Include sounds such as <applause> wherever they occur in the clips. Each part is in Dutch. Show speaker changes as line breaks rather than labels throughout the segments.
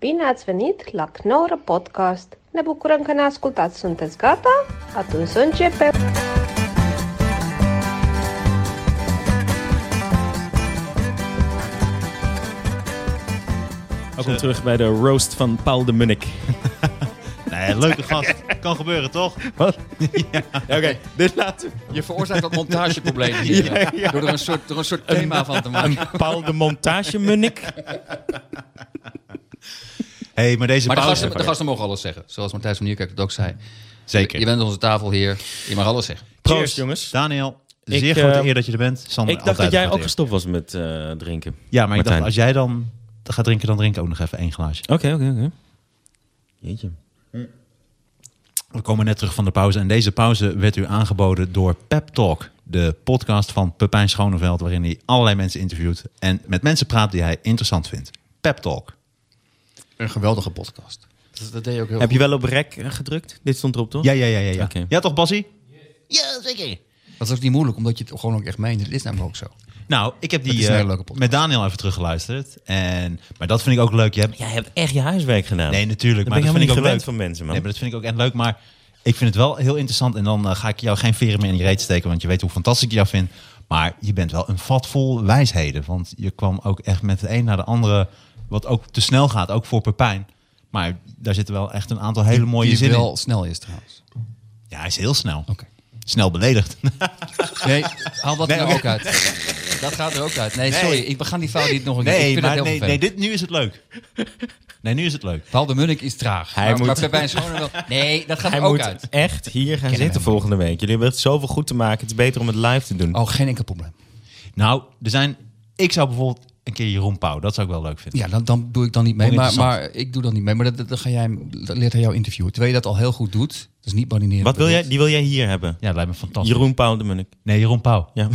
Bine ați venit la Knorr Podcast! Ne bucurăm că ne ascultați! Sunteți gata? Atunci să începem!
Welkom terug bij de roast van Paul de Munnik.
Nee, leuke gast. Kan gebeuren, toch?
Wat? Oké, dit laten
Je veroorzaakt dat montageprobleem hier. eh, Door er een soort, door een soort thema van te maken.
we. Paul de Montage Munnik.
Hé, hey, maar deze
Maar de
pauze...
gasten, de gasten mogen alles zeggen. Zoals Matthijs van Nieuwkerk het ook zei.
Zeker.
Je bent aan onze tafel hier. Je mag alles zeggen.
Proost, jongens.
Daniel,
Ik,
zeer grote
eh,
eer dat je er bent. Sander,
Ik dacht dat
altijd
jij
een
ook
grote eer.
gestopt was met eh, drinken.
Ja, maar ik dacht,
Martijn.
als jij dan gaat drinken, dan drink ik ook nog even één glaasje.
Oké, oké, oké. Jeetje.
We komen net terug van de pauze. En deze pauze werd u aangeboden door Pep Talk. De podcast van Pepijn Schoneveld, waarin hij allerlei mensen interviewt. En met mensen praat die hij interessant vindt. Pep Talk.
Een geweldige podcast. Dat, dat deed je ook heel
Heb je wel op rek eh, gedrukt? Dit stond erop, toch?
Ja, ja, ja, ja. Ja,
Oké.
ja toch, Bassie?
goed. Dat is ook niet moeilijk, omdat je het gewoon ook echt meent. Het is namelijk ook zo.
Nou, ik heb
Het
die
is een hele
eh,
leuke podcast.
met Daniel even teruggeluisterd. En, maar dat vind ik ook leuk. Je hebt,
Jij hebt echt je huiswerk gedaan.
Nee, natuurlijk.
Dat
maar
ben ik helemaal
dat vind
niet
ik ook
gewend
leuk.
van mensen, man.
Nee, maar dat vind ik ook echt leuk. Maar ik vind het wel heel interessant. En dan eh, ga ik jou geen veren meer in je reet steken. Want je weet hoe fantastisch ik jou vind. Maar je bent wel een vat vol wijsheden. Want je kwam ook echt met de een naar de andere. Wat ook te snel gaat, ook voor Pepijn. Maar daar zitten wel echt een aantal hele mooie
Die
zinnen
wel snel is trouwens.
in. Ja, hij is heel snel.
Oké.
Snel beledigd.
Nee, haal dat er nou ook uit. Dat gaat er ook uit. Nee, sorry. Ik, we gaan die fout niet nog een keer. ik vind dat heel
nee, nee
vervelend.
dit, nu is het leuk. Nee, nu is het leuk.
Paul de Munnik is traag.
Hij
maar,
moet-
maar Pepijn Schoonen wel. Nee, dat gaat
Hij
er ook
moet
uit.
echt hier gaan zitten
hem.
volgende week. Jullie hebben echt zoveel goed te maken. Het is beter om het live te doen.
Oh, geen enkel probleem.
Nou, er zijn... Ik zou bijvoorbeeld een keer Jeroen Pauw. Dat zou ik wel leuk vinden.
Ja, dan, dan doe ik dan niet mee. Maar,
Oninteressant.
maar ik doe dan niet mee. Maar dat, dat, dat ga jij, hem- dat leert hij jou interviewen. Terwijl je dat al heel goed doet. Dus niet baninerend.
Wat wil jij?
bedoeld.
Die wil jij hier hebben.
Ja, dat lijkt me fantastisch.
Jeroen Paul de Munnik.
Nee, Jeroen Pauw.
Ja.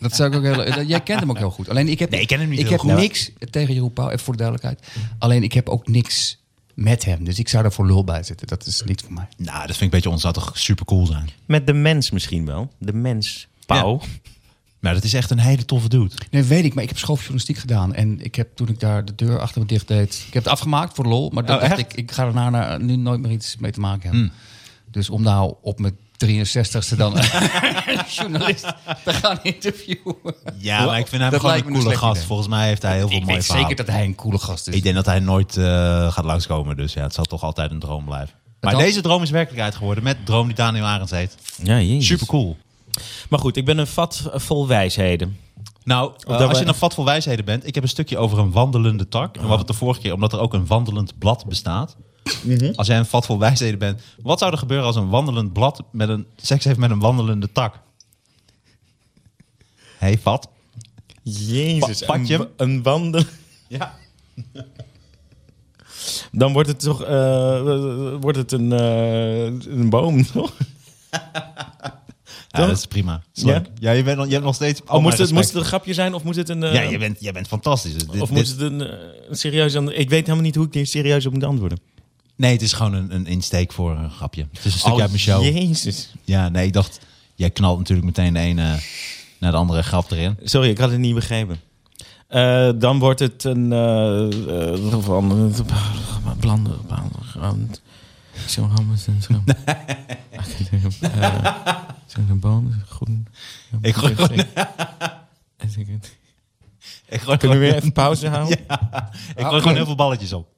Dat zou ik ook heel, dat- jij kent hem ook heel goed. Alleen ik heb,
Nee, ik ken hem niet
ik
heel
heb
goed.
niks tegen Jeroen Pauw, even voor de duidelijkheid. Alleen ik heb ook niks met hem. Dus ik zou daar voor lul bij zitten. Dat is niet voor mij.
Nou, dat vind ik een beetje ons zou toch super cool zijn.
Met de mens misschien wel. De mens. Pauw.
Maar dat is echt een hele toffe dude.
Nee, weet ik. Maar ik heb schooljournalistiek gedaan. En ik heb toen ik daar de deur achter me dicht deed... Ik heb het afgemaakt voor de lol. Maar dat
Oh,
dacht
echt?
ik, ik ga daarna na- nu nooit meer iets mee te maken hebben. Dus om nou op mijn 63ste dan een journalist te gaan interviewen.
Ja, maar ik vind hem
Dat
gewoon een
lijkt me een
coole
slecht
gast.
idee.
Volgens mij heeft hij heel veel
Ik
mooie
weet
verhalen.
zeker dat hij een coole gast is.
Ik denk dat hij nooit eh, gaat langskomen. Dus ja, het zal toch altijd een droom blijven. Maar
dan-
deze droom is werkelijkheid geworden. Met droom die Daniel Arends heet.
Ja, jezus.
Super cool.
Maar goed, ik ben een vat vol wijsheden.
Nou, eh,
dat
als
wij-
je een vat vol wijsheden bent. Ik heb een stukje over een wandelende tak. En we
Ah.
hadden het de vorige keer, omdat er ook een wandelend blad bestaat.
Mhm.
Als jij een vat vol wijsheden bent. Wat zou er gebeuren als een wandelend blad met een, seks heeft met een wandelende tak? hey, vat.
Jezus,
Pa- pak je
een,
hem?
wa- een wandel.
<laughs> Ja.
Dan wordt het toch eh, wordt het een, eh, een boom, <laughs> toch?
Oh, Ja,
Toch?
dat is prima. Is
Ja?
leuk. Ja, je, bent, al- je hebt nog steeds.
Oh,
al
moest,
mijn
het, moest het
respect.
een grapje zijn of moet het een... eh,
Ja, jij bent, jij bent fantastisch. Dus dit-
of
dit-
moet het een, eh, een serieus... Aan, ik weet helemaal niet hoe ik hier serieus op moet antwoorden.
Nee, het is gewoon een, een insteek voor een grapje. Het is een stukje
Oh,
uit mijn show.
Jezus.
Ja, nee, ik dacht. Jij knalt natuurlijk meteen de ene naar de andere grap erin.
Sorry, ik had het niet begrepen. Eh, dan wordt het een... eh, eh, van- Blande... blande- Zo'n hammers en zo'n... Eh, Zo'n boom, groen...
Ik gooi gewoon- Ik gooi
Kunnen we
gewoon,
weer even pauze houden?
ik gooi gewoon heel veel balletjes op.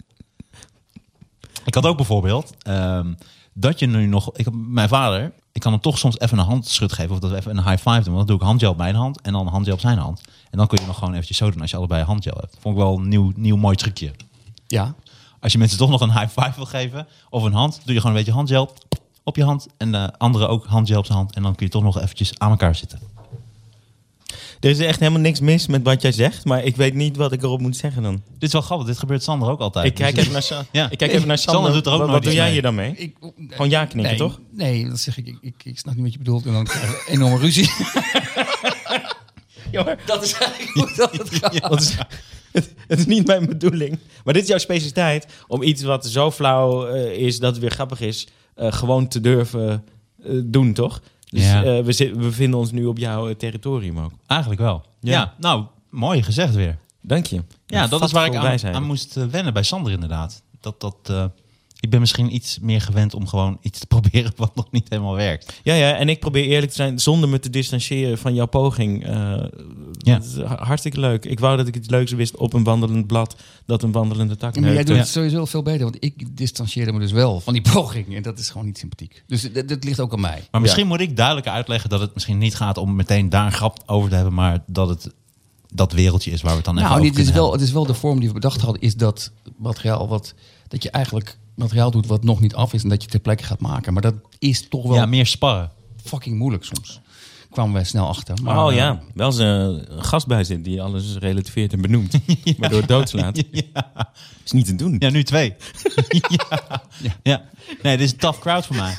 Ik had ook bijvoorbeeld ehm, dat je nu nog. Ik, heb- mijn vader, ik kan hem toch soms even een handschud geven. Of dat we even een high five doen. Want dan doe ik handgel op mijn hand en dan handgel op zijn hand. En dan kun je nog gewoon eventjes zo doen als je allebei handgel hebt. Vond ik wel een nieuw, nieuw mooi trucje.
Ja.
Als je mensen toch nog een high five wil geven of een hand, doe je gewoon een beetje handgel op je hand en de andere ook handgel op zijn hand. En dan kun je toch nog eventjes aan elkaar zitten.
Er is echt helemaal niks mis met wat jij zegt, maar ik weet niet wat ik erop moet zeggen dan.
Dit is wel grappig, dit gebeurt Sander ook altijd.
Ik kijk
Dus-
even naar, Sa-
<laughs> Ja.
ik kijk even naar Sander.
Sander doet er ook
wat,
nooit
wat doe
iets
jij
mee.
hier dan mee?
Ik,
Gewoon ja knikken,
Oh, nee,
toch?
Nee, dat zeg ik. Ik, ik. ik snap niet wat je bedoelt. En dan krijg ik een enorme ruzie. dat is eigenlijk hoe dat
<laughs>
het gaat.
Want het, is, het, het is niet mijn bedoeling. Maar dit is jouw specialiteit om iets wat zo flauw eh, is dat het weer grappig is, eh, gewoon te durven eh, doen, toch? Dus
Ja.
eh, we, zit- we bevinden ons nu op jouw eh, territorium ook.
Eigenlijk wel.
Ja.
Ja. nou, mooi gezegd weer.
Dank je.
Ja, dat is waar ik
Vatvol
aan,
wijsheid.
aan moest eh, wennen bij Sander inderdaad. Dat, dat, eh, ik ben misschien iets meer gewend om gewoon iets te <laughs> proberen wat nog niet helemaal werkt.
Ja, ja, en ik probeer eerlijk te zijn zonder me te distancieren van jouw poging. Eh,
Ja.
dat is ha- hartstikke leuk. Ik wou dat ik iets leuks wist op een wandelend blad dat een wandelende tak
Ja, maar jij
neukt.
doet
Ja.
het sowieso veel beter, want ik distancieerde me dus wel van die poging. En dat is gewoon niet sympathiek. Dus dat, dat ligt ook aan mij.
Maar misschien moet ik duidelijker uitleggen dat het misschien niet gaat om meteen daar een grap over te hebben, maar dat het dat wereldje is waar we het dan even
Nou,
over
dit is
kunnen
wel, het is wel de vorm die we bedacht hadden, is dat materiaal wat dat je eigenlijk materiaal doet wat nog niet af is en dat je ter plekke gaat maken. Maar dat is toch wel
hebben. Ja, meer sparren.
fucking moeilijk soms. Kwamen wij snel achter. Maar,
Oh
eh,
ja, wel eens eh, een, een gast bij zit die alles relativeert en benoemt. Waardoor het doodslaat. Is niet te doen.
Ja, nu
<laughs>
twee. <laughs> ja. ja. Nee, dit is een tough crowd voor mij.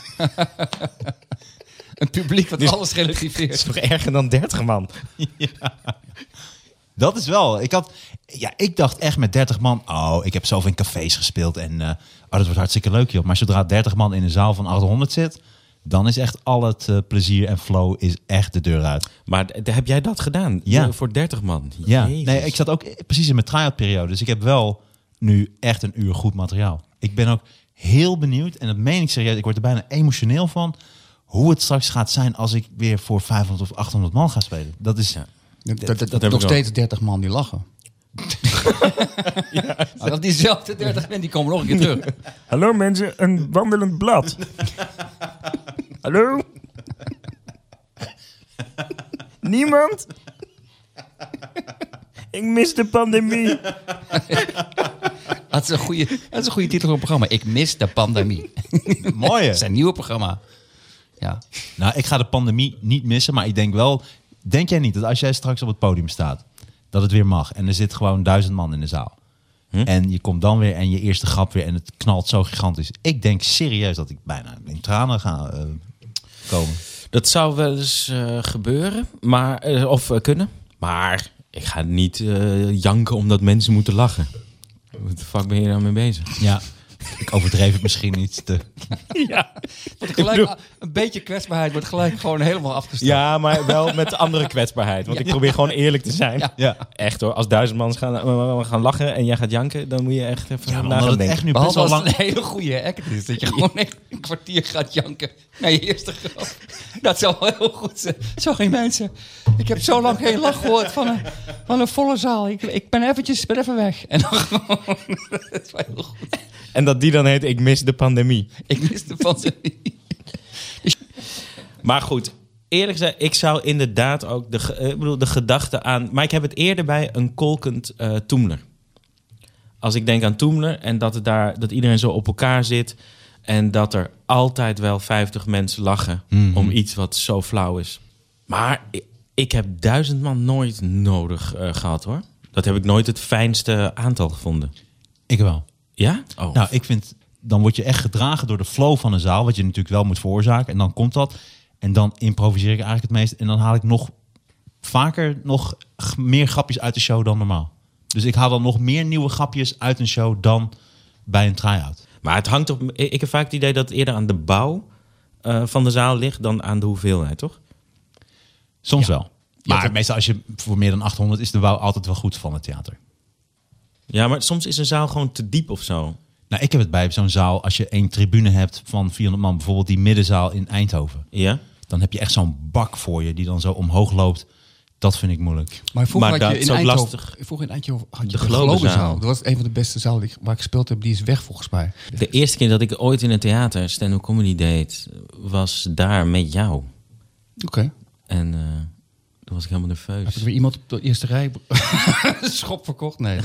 Een publiek wat alles relativeert.
toch erger dan 30 man?
Dat is wel. Ik, had, ja, ik dacht echt met 30 man. Oh, ik heb zoveel in cafés gespeeld. En eh, oh, dat wordt hartstikke leuk, joh. Maar zodra 30 man in een zaal van 800 zit. dan is echt al het eh, plezier en flow is echt de deur uit.
Maar d- heb jij dat gedaan?
Ja.
Eh, Voor 30 man?
Ja.
Jezus.
Nee, ik zat ook precies in mijn try-out periode. Dus ik heb wel nu echt een uur goed materiaal. Ik ben ook heel benieuwd. En dat meen ik serieus. Ik word er bijna emotioneel van. Hoe het straks gaat zijn als ik weer voor 500 of 800 man ga spelen. Dat is. <laughs>
Dat, dat, dat,
heb ik
nog
ook.
steeds 30 man die <laughs> lachen. Maar dat diezelfde 30 mensen die komen nog een keer terug.
Hallo mensen, een
<laughs>
wandelend blad. Hallo? Niemand? Ik mis de
<laughs>
pandemie.
Dat is een goede, dat is een goede titel voor een programma. Ik mis de pandemie.
Mooie.
Zijn nieuwe programma. Ja.
Nou, ik ga de pandemie niet missen, maar ik denk wel... Denk jij niet dat als jij straks op het podium staat, dat het weer mag en er zit gewoon duizend man in de zaal. En je komt dan weer en je eerste grap weer en het knalt zo gigantisch. Ik denk serieus dat ik bijna in tranen ga eh, komen.
Dat zou wel eens eh, gebeuren, maar, eh, of eh, kunnen. Maar ik ga niet eh, janken omdat mensen moeten lachen. Wat de fuck ben je daar mee bezig?
Ja, ik overdreef het misschien iets te...
Wordt gelijk, een beetje kwetsbaarheid wordt gelijk gewoon helemaal afgestapt.
Ja, maar wel met andere kwetsbaarheid. Want ik probeer gewoon eerlijk te zijn.
Ja.
Ja,
Echt hoor, als duizend man gaan, eh, gaan lachen en jij gaat janken, dan moet je echt even
ja
ja,
maar omdat het echt nu best
Behalve
wel
als
lang...
het een hele goede act is. Dat je gewoon echt een kwartier gaat janken naar je eerste grap. Dat zou wel heel goed zijn. Sorry mensen, ik heb zo lang geen lach gehoord van een, van een volle zaal. Ik, ik ben eventjes, ben even weg. En dan gewoon, <laughs> dat is wel heel goed.
En dat die dan heet, ik mis de pandemie.
Ik mis de pandemie.
Maar goed, eerlijk gezegd, ik zou inderdaad ook de, ge- eh, ik bedoel, de gedachte aan. Maar ik heb het eerder bij een kolkend eh Toemler. Als ik denk aan Toemler en dat, het daar, dat iedereen zo op elkaar zit. En dat er altijd wel 50 mensen lachen om iets wat zo flauw is. Maar ik, ik heb duizend man nooit nodig eh, gehad hoor. Dat heb ik nooit het fijnste aantal gevonden.
Ik wel.
Ja? Oh.
Nou, ik vind, dan word je echt gedragen door de flow van een zaal, wat je natuurlijk wel moet veroorzaken. En dan komt dat. En dan improviseer ik eigenlijk het meest. En dan haal ik nog vaker nog g- meer grapjes uit de show dan normaal. Dus ik haal dan nog meer nieuwe grapjes uit een show dan bij een try-out.
Maar het hangt op. Ik ik heb vaak het idee dat het eerder aan de bouw eh, van de zaal ligt dan aan de hoeveelheid, toch?
Soms wel. Maar
dat-
meestal als je voor meer dan 800 is de wou altijd wel goed van het theater.
Ja, maar soms is een zaal gewoon te diep of zo.
Nou, ik heb het bij zo'n zaal, als je één tribune hebt van 400 man, bijvoorbeeld die middenzaal in Eindhoven.
Ja?
Dan heb je echt zo'n bak voor je die dan zo omhoog loopt. Dat vind ik <laughs> moeilijk.
Maar vroeger
Maar
had
dat
je
is
in
ook
Eindhoven,
lastig.
vroeger in Eindhoven had je
De
de
Globezaal.
Globezaal. Dat was een van de beste zalen die, ik- waar ik gespeeld heb. Die is weg volgens mij.
De eerste keer dat ik ooit in een theater stand-up comedy deed, was daar met jou.
Oké.
En eh, toen was ik helemaal nerveus.
Heb ik weer iemand op de eerste rij <laughs> schop verkocht? Nee.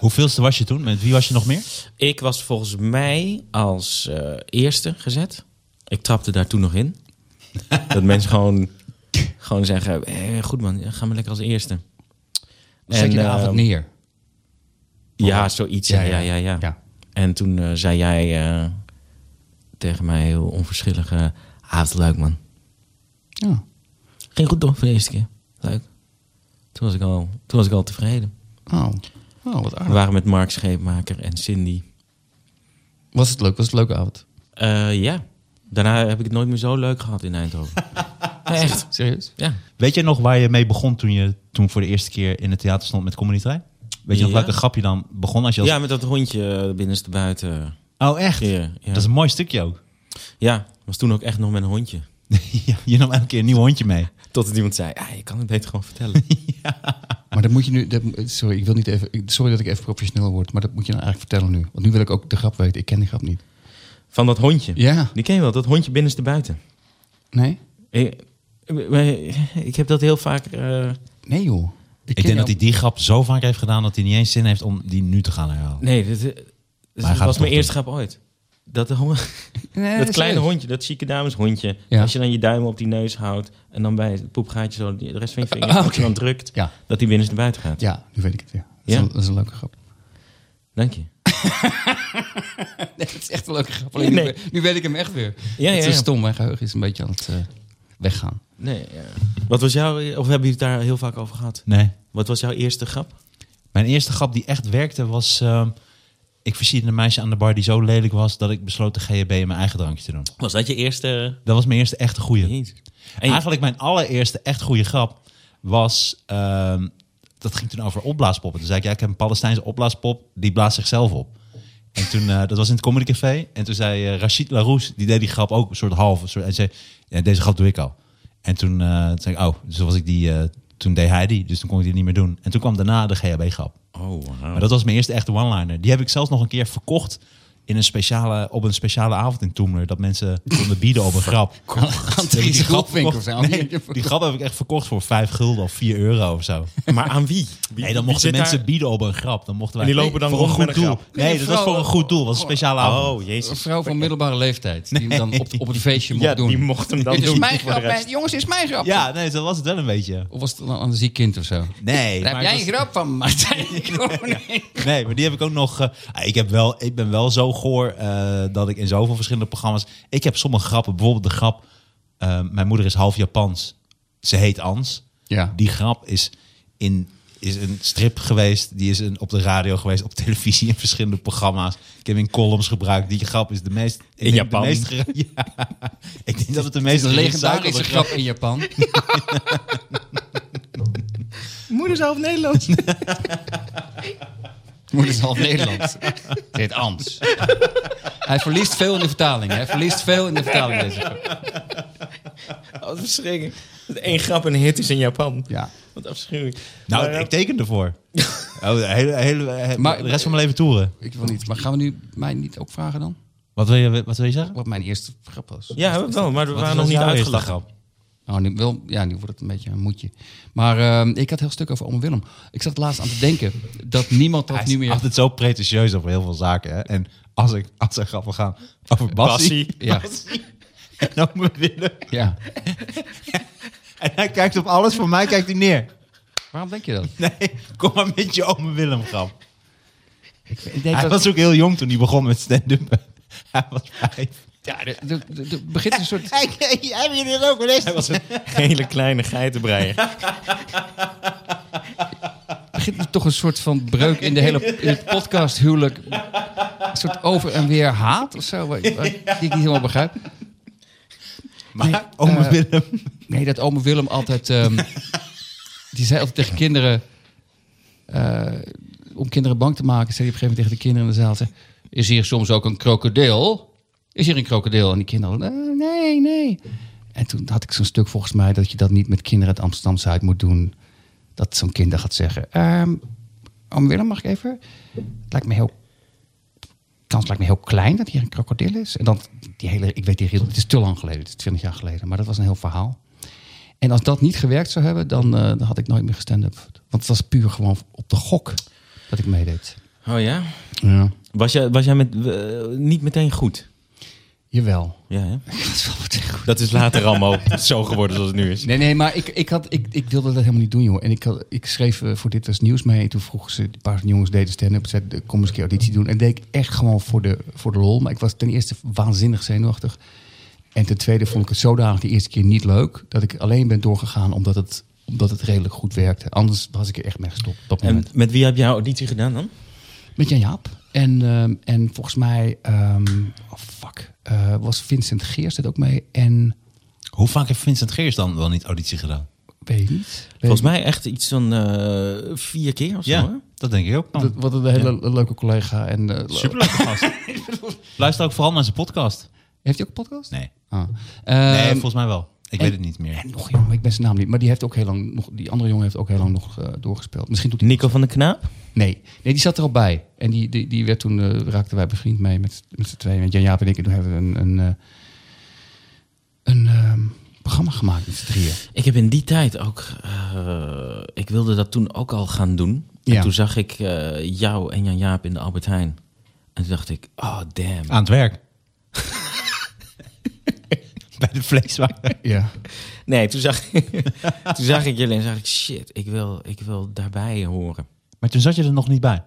Hoeveelste was je toen? Met wie was je nog meer?
Ik was volgens mij als eh, eerste gezet. Ik trapte daar toen nog in. dat mensen gewoon, gewoon zeggen, "Eh, goed man, ga maar lekker als eerste.
Zet je de
ehm,
avond neer?
Ja, zoiets. Ja, ja, ja, ja.
Ja.
En toen eh, zei jij eh, tegen mij heel onverschillig... eh, ah, wat leuk man.
Ja. Oh.
Ging goed toch voor de eerste keer. Leuk. Toen was ik al, toen was ik al tevreden.
Oh. oh, wat
We
aardig.
waren met Mark Scheepmaker en Cindy.
Was het leuk? Was het een leuke avond?
Eh, ja. Daarna heb ik het nooit meer zo leuk gehad in Eindhoven. Nee, echt.
Serieus?
Ja.
Weet jij nog waar je mee begon toen je toen voor de eerste keer in het theater stond met Comedy Trein? Weet je nog
Ja.
welke grap je dan begon als je als...
ja, met dat hondje eh, binnenste buiten.
Oh, echt?
Ja, ja.
Dat is een mooi stukje ook. <laughs>
Ja, was toen ook echt nog met een hondje.
Ja, je nam elke keer een nieuw hondje mee.
Totdat iemand zei, ah, je kan het beter gewoon vertellen.
Maar dat moet je nu. dat- sorry, ik wil niet even. ik- Sorry dat ik even professioneel word, maar dat moet je nou eigenlijk vertellen nu. Want nu wil ik ook de grap weten. Ik ken die grap niet.
Van dat hondje.
Ja.
Die ken je wel, dat hondje binnenste buiten.
Nee?
Ik, ik heb dat heel vaak... eh,
Nee, joh.
Ik denk dat hij die grap zo vaak heeft gedaan dat hij niet eens zin heeft om die nu te gaan herhalen.
nee, dit- dit,
gaat het
was
toch
mijn eerste grap ooit. Dat, de hon- dat kleine hondje, dat zieke dameshondje.
Ja.
Als je dan je duim op die neus houdt en dan bij het poepgaatje zo de rest van je vinger
<laughs> Ah,
als je
oké.
dan drukt,
Ja.
dat die binnenste buiten gaat.
Ja, nu weet ik het weer. Dat, is
Ja?
een, dat is een leuke grap.
Dank je.
Nee, het is echt een leuke grap.
alleen nu- Nee.
nu, weet ik hem echt weer.
Ja,
het
ja,
is
ja.
stom, mijn geheugen is een beetje aan het eh, weggaan.
Nee, ja. Wat was jouw... Of hebben jullie het daar heel vaak over gehad?
Nee.
Wat was jouw eerste grap?
Mijn eerste grap die echt werkte was... ehm, ik versierde een meisje aan de bar die zo lelijk was dat ik besloot de GHB in mijn eigen drankje te doen.
Was dat je eerste...
Dat was mijn eerste echte goeie.
Jezus. En je-
Eigenlijk mijn allereerste echt goede grap was... ehm, dat ging toen over opblaaspoppen. Toen zei ik, ja, ik heb een Palestijnse opblaaspop, die blaast zichzelf op. En toen, eh, dat was in het Comedy Café. En toen zei eh, Rachid Larousse, die deed die grap ook een soort half. Een soort, en zei, ja, deze grap doe ik al. En toen, eh, toen zei ik, oh, dus toen was ik die... eh, toen deed hij die, dus toen kon ik die niet meer doen. En toen kwam daarna de GHB-grap.
Oh, wauw.
Maar dat was mijn eerste echte one-liner. Die heb ik zelfs nog een keer verkocht in een speciale, op een speciale avond in Toemler. Dat mensen konden bieden op een grap. <laughs>
<laughs> Dries
Die grap
Groepwinkel
verkocht-
zou je- <laughs>
Nee, die grap heb ik echt verkocht voor 5 gulden of 4 euro of zo.
<laughs> Maar aan wie?
Nee, dan mochten
zit
mensen
daar-
bieden op een grap. Dan mochten wij,
En die lopen dan
voor een
rond
goed
met een
doel.
grap.
Nee, dat was voor een goed doel. Dat was een speciale avond.
Oh,
Een
jezus.
vrouw van middelbare leeftijd die hem dan op, op het feestje mocht
Ja,
doen.
die mocht hem dan
Dit is
doen
mijn
voor de
grap,
rest.
mijn- jongens, dit is mijn grap.
Ja, nee, dat was het wel een beetje.
Of was het dan aan een ziek kind of zo?
Nee,
Daar
maar
heb
het
jij een
was-
grap van,
<laughs>
Martijn. Koning.
Nee, maar die heb ik ook nog. eh, ah, ik, heb wel, ik ben wel zo goor eh, dat ik in zoveel verschillende programma's. Ik heb sommige grappen, bijvoorbeeld de grap. eh, mijn moeder is half Japans. Ze heet Ans.
Ja.
Die grap is in is een strip geweest. Die is een, op de radio geweest, op televisie in verschillende programma's. Ik heb hem in columns gebruikt. Die grap is de meest. ik denk
Japan.
De meest gera- <laughs> ja. Ik denk dat het de
Het
meest
is
Nou,
een legendarische
gerecyclede grap
grap in Japan.
Moeder zelf Nederlands. <laughs>
Moeder is dus half
<laughs>
Nederlands. Dit Ans. Hij verliest veel in de vertaling. Hij verliest veel in de vertaling deze grap.
Wat verschrikkelijk. Dat één grap een hit is in Japan.
Ja.
Wat afschuwelijk.
Nou,
Maar, eh,
ik teken
<laughs>
ervoor. Oh, de, hele, hele, he-
Maar-
de rest van mijn leven toeren.
Ik wil niet. Maar gaan we nu mij niet ook vragen dan?
Wat wil je, wat wil je zeggen?
Wat mijn eerste grap was.
Ja, wel, maar we
was
waren nog niet
jouw eerste
uitgelachen.
grap?
Nou, nu, wel, ja, nu wordt het een beetje een moedje. Maar ehm, ik had heel stuk over Ome Willem. Ik zat laatst aan te denken dat niemand dat
Hij is
nu meer...
altijd zo pretentieus over heel veel zaken. Hè? En als ik als er grappen gaan over
Bassie.
Bassie, <laughs>
Ja,
en dan me Willem.
ja.
En hij kijkt op alles, voor mij kijkt hij neer.
Waarom denk je dat?
Nee, kom maar met je ome Willem grap.
Ik denk
Hij
dat...
was ook heel jong toen hij begon met stand-up. Hij was vijf.
Ja, er- er- er- er begint een soort...
Hebben jullie dat ook wel eens?
Hij was een hele kleine geitenbreier.
begint er toch een soort van breuk in de hele in het podcast huwelijk. Een soort over en weer haat of zo, waar, waar- die ik niet helemaal begrijp.
Maar
Nee,
ome
eh,
Willem...
Nee, dat ome Willem altijd... ehm, die zei altijd tegen kinderen... eh, om kinderen bang te maken, zei hij op een gegeven moment tegen de kinderen in de zaal... zei, Is hier soms ook een krokodil? Is hier een krokodil? En die kinderen... "Eh, nee, nee. En toen had ik zo'n stuk volgens mij... dat je dat niet met kinderen uit Amsterdam-Zuid moet doen. Dat zo'n kinder gaat zeggen... ehm oom Willem, mag ik even? Het lijkt me heel kans lijkt me heel klein dat hier een krokodil is. En dan die hele, ik weet die heel, het is te lang geleden, het is 20 jaar geleden, maar dat was een heel verhaal. En als dat niet gewerkt zou hebben, dan, eh, dan had ik nooit meer gestand-up. Want het was puur gewoon op de gok dat ik
<laughs>
meedeed.
Oh ja?
Ja.
Was jij, was jij met, eh, niet meteen goed?
Jawel.
Ja, hè?
<laughs> Dat is wel wat goed.
Dat is later allemaal zo geworden zoals het nu is.
Nee, nee, maar ik, ik, had, ik, ik wilde dat helemaal niet doen, joh. En ik, had, ik schreef eh, voor Dit Was Nieuws mee. En toen vroegen ze, een paar jongens deden stand-up. Ze zeiden, "Eh, kom eens een keer auditie doen. En dat deed ik echt gewoon voor de, voor de lol. Maar ik was ten eerste waanzinnig zenuwachtig. En ten tweede vond ik het zodanig de eerste keer niet leuk... dat ik alleen ben doorgegaan omdat het, omdat het redelijk goed werkte. Anders was ik er echt mee gestopt op dat
En
moment.
met wie heb jij auditie gedaan dan?
Met Jan Jaap. En, ehm, en volgens mij, ehm, oh fuck, eh, was Vincent Geers het ook mee. En
Hoe vaak heeft Vincent Geers dan wel niet auditie gedaan?
Weet ik niet.
Volgens mij echt iets van eh, vier keer of zo.
Ja,
hoor.
dat denk ik ook. man.
Dat, wat een hele leuke collega. En, eh,
Superleuke <laughs> gast. Luister ook vooral naar zijn podcast.
Heeft hij ook een podcast?
Nee,
Ah.
nee
Ehm,
volgens mij wel. Ik weet het niet meer.
en nog een jongen, ik ben zijn naam niet. Maar die heeft ook heel lang nog. Die andere jongen heeft ook heel lang nog eh, doorgespeeld. Misschien doet hij.
Nico van de Knaap.
Nee. nee, die zat er al bij. En die, die, die werd toen eh, raakten wij bevriend mee met, met z'n tweeën. Met Jan-Jaap en ik. En toen hebben we een, een, eh, een ehm, programma gemaakt met z'n drieën.
Ik heb in die tijd ook... eh, ik wilde dat toen ook al gaan doen. En
Ja.
toen zag ik eh, jou en Jan-Jaap in de Albert Heijn. En toen dacht ik, oh damn.
Aan het werk. <laughs> Bij de vleeswagen.
Ja.
Nee, toen zag, <laughs> toen zag ik jullie en zag ik, shit, ik wil, ik wil daarbij horen.
Maar toen zat je er nog niet bij.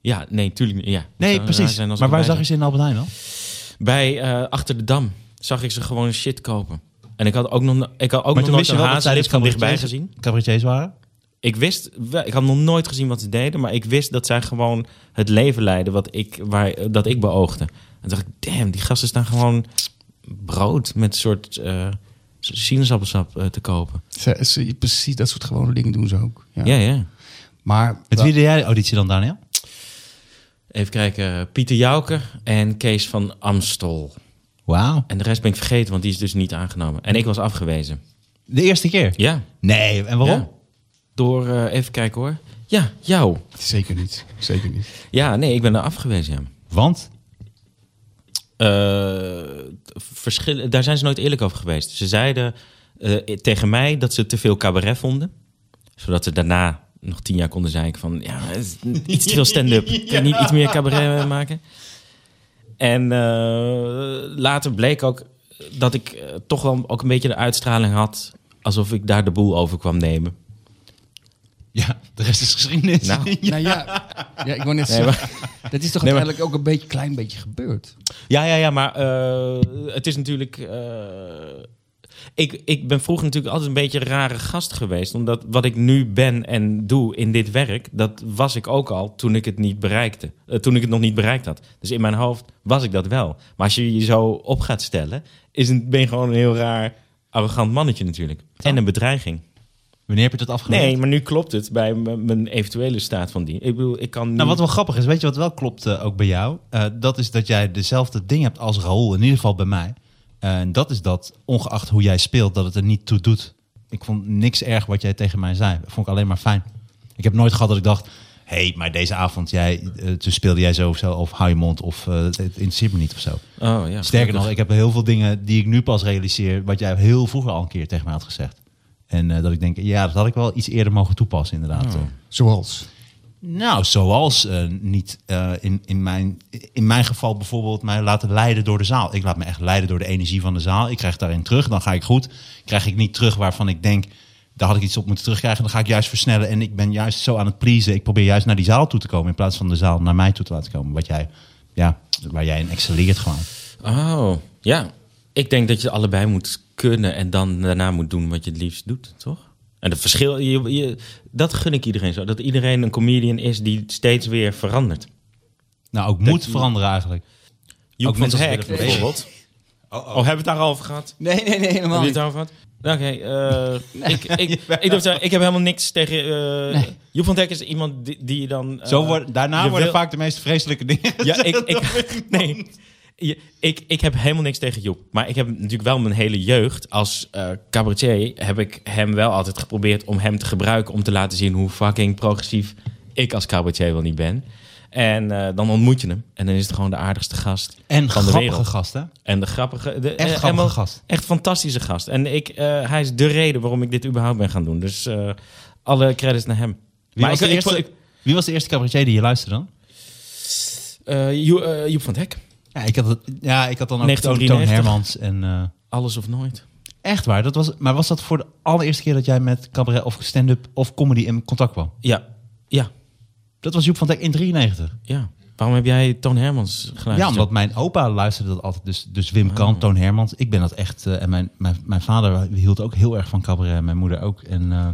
Ja, nee, tuurlijk niet. Ja.
Nee,
Zou raar
precies.
zijn als
Maar
ik
waar
erbij
zag je ze in Albert Heijn dan?
zat. Bij eh, Achter de Dam zag ik ze gewoon shit kopen. En ik had ook nog, ik had ook
Maar
nog
toen
nooit
wist je
een
wel dat zij
hazellip
dus
van dichtbij
cabaretiers,
gezien.
cabaretiers waren?
Ik wist, wel- ik had nog nooit gezien wat ze deden, maar ik wist dat zij gewoon het leven leiden wat ik, waar, dat ik beoogde. En toen dacht ik, damn, die gasten staan gewoon brood met een soort eh, sinaasappelsap eh, te kopen.
Ze, ze- precies dat soort gewone dingen doen ze ook. Ja.
Ja, ja.
Maar
Met wie <laughs> deed jij de auditie dan, Daniel?
Even kijken, Pieter Jouke en Kees van Amstel.
Wauw.
En de rest ben ik vergeten, want die is dus niet aangenomen. En ik was afgewezen.
De eerste keer?
Ja.
Nee, en waarom?
Ja. Door, eh, even kijken hoor. Ja, jou.
zeker niet. Zeker niet.
Ja, nee, ik ben er afgewezen, ja.
Want?
Eh, verschil, daar zijn ze nooit eerlijk over geweest. Ze zeiden eh, tegen mij dat ze te veel cabaret vonden. Zodat ze daarna nog tien jaar konden zeiken van... Ja, het is iets te veel stand-up. Kun je niet iets meer cabaret eh, maken? En eh, later bleek ook dat ik eh, toch wel ook een beetje de uitstraling had... alsof ik daar de boel over kwam nemen.
Ja, de rest is geschiedenis.
Nou.
Nou ja, ja ik wou net zeggen. <laughs> dat is toch
Nee, maar-
uiteindelijk ook een beetje, klein beetje gebeurd.
Ja, ja, ja, maar eh, het is natuurlijk. eh, ik, ik ben vroeger natuurlijk altijd een beetje een rare gast geweest. Omdat wat ik nu ben en doe in dit werk, dat was ik ook al toen ik het niet bereikte. Eh, toen ik het nog niet bereikt had. Dus in mijn hoofd was ik dat wel. Maar als je je zo op gaat stellen, is een, ben je gewoon een heel raar, arrogant mannetje natuurlijk. En een bedreiging.
Wanneer heb je dat afgemaakt?
Nee, maar nu klopt het bij m- mijn eventuele staat van dienst. Ik bedoel, ik kan. nu-
Nou, wat wel grappig is, weet je wat wel klopt eh, ook bij jou? Eh, dat is dat jij dezelfde ding hebt als Raoul, in ieder geval bij mij. Eh, en dat is dat, ongeacht hoe jij speelt, dat het er niet toe doet. Ik vond niks erg wat jij tegen mij zei. Dat vond ik alleen maar fijn. Ik heb nooit gehad dat ik dacht, hé, hey, maar deze avond jij, eh, toen speelde jij zo of zo, of hou je mond, of eh, het interesseert me niet of zo.
Oh, ja,
Sterker
gelukkig.
nog, ik heb heel veel dingen die ik nu pas realiseer, wat jij heel vroeger al een keer tegen mij had gezegd. En eh, dat ik denk, ja, dat had ik wel iets eerder mogen toepassen, inderdaad.
Zoals.
Nou, zoals eh, niet eh, in, in, mijn, in mijn geval bijvoorbeeld mij laten leiden door de zaal. Ik laat me echt leiden door de energie van de zaal. Ik krijg daarin terug, dan ga ik goed. Krijg ik niet terug waarvan ik denk, daar had ik iets op moeten terugkrijgen. Dan ga ik juist versnellen en ik ben juist zo aan het pleasen. Ik probeer juist naar die zaal toe te komen in plaats van de zaal naar mij toe te laten komen. Wat jij, ja, waar jij in excelleert gewoon.
Oh, ja. Ik denk dat je allebei moet kunnen en dan daarna moet doen wat je het liefst doet, toch? En het verschil, je, je- dat gun ik iedereen zo. Dat iedereen een comedian is die steeds weer verandert.
Nou, ook moet veranderen eigenlijk.
Joep
Ook
van
mensen
het Hek
willen
bijvoorbeeld. Oh, hebben we het daar al over gehad?
Nee, nee, nee, helemaal
Hebben
niet.
we het over gehad? Oké,
<laughs>
eh, ik, ik, ik, durf te- ik heb helemaal niks tegen... eh Joep van het Hek is iemand die, die je dan... eh,
Zo worden, daarna
je
worden
wil-
vaak de meest vreselijke dingen <laughs>
Ja, ik, ik, <laughs> nee, Je- ik, ik heb helemaal niks tegen Joep. Maar ik heb natuurlijk wel mijn hele jeugd als eh cabaretier... heb ik hem wel altijd geprobeerd om hem te gebruiken... om te laten zien hoe fucking progressief ik als cabaretier wel niet ben. En eh, dan ontmoet je hem. En dan is het gewoon de aardigste gast
En
van de
grappige
wereld.
gasten.
En de grappige... De,
Echt
eh,
grappige
helemaal-
gast.
Echt fantastische gast. En ik, eh, hij is de reden waarom ik dit überhaupt ben gaan doen. Dus eh, alle credits naar hem.
Wie, was
ik-
de
ik-
eerste,
ik-
wie was de eerste cabaretier die je luisterde dan?
eh, Jo- eh, Joep van het Hek.
Ja, ik had, het- ja, ik had dan ook
1993.
Toon Hermans. En, eh,
Alles of nooit.
echt waar, dat was, maar was dat voor de allereerste keer dat jij met cabaret of stand-up of comedy in contact kwam?
Ja, ja,
Dat was Joep van Dijk in 93.
ja. Waarom heb jij Toon Hermans geluisterd?
Ja, omdat mijn opa luisterde dat altijd. Dus, dus Wim
Ah.
Kant, Toon Hermans. Ik ben dat echt. eh, en mijn, mijn, mijn vader hield ook heel erg van cabaret. en Mijn moeder ook. En, eh,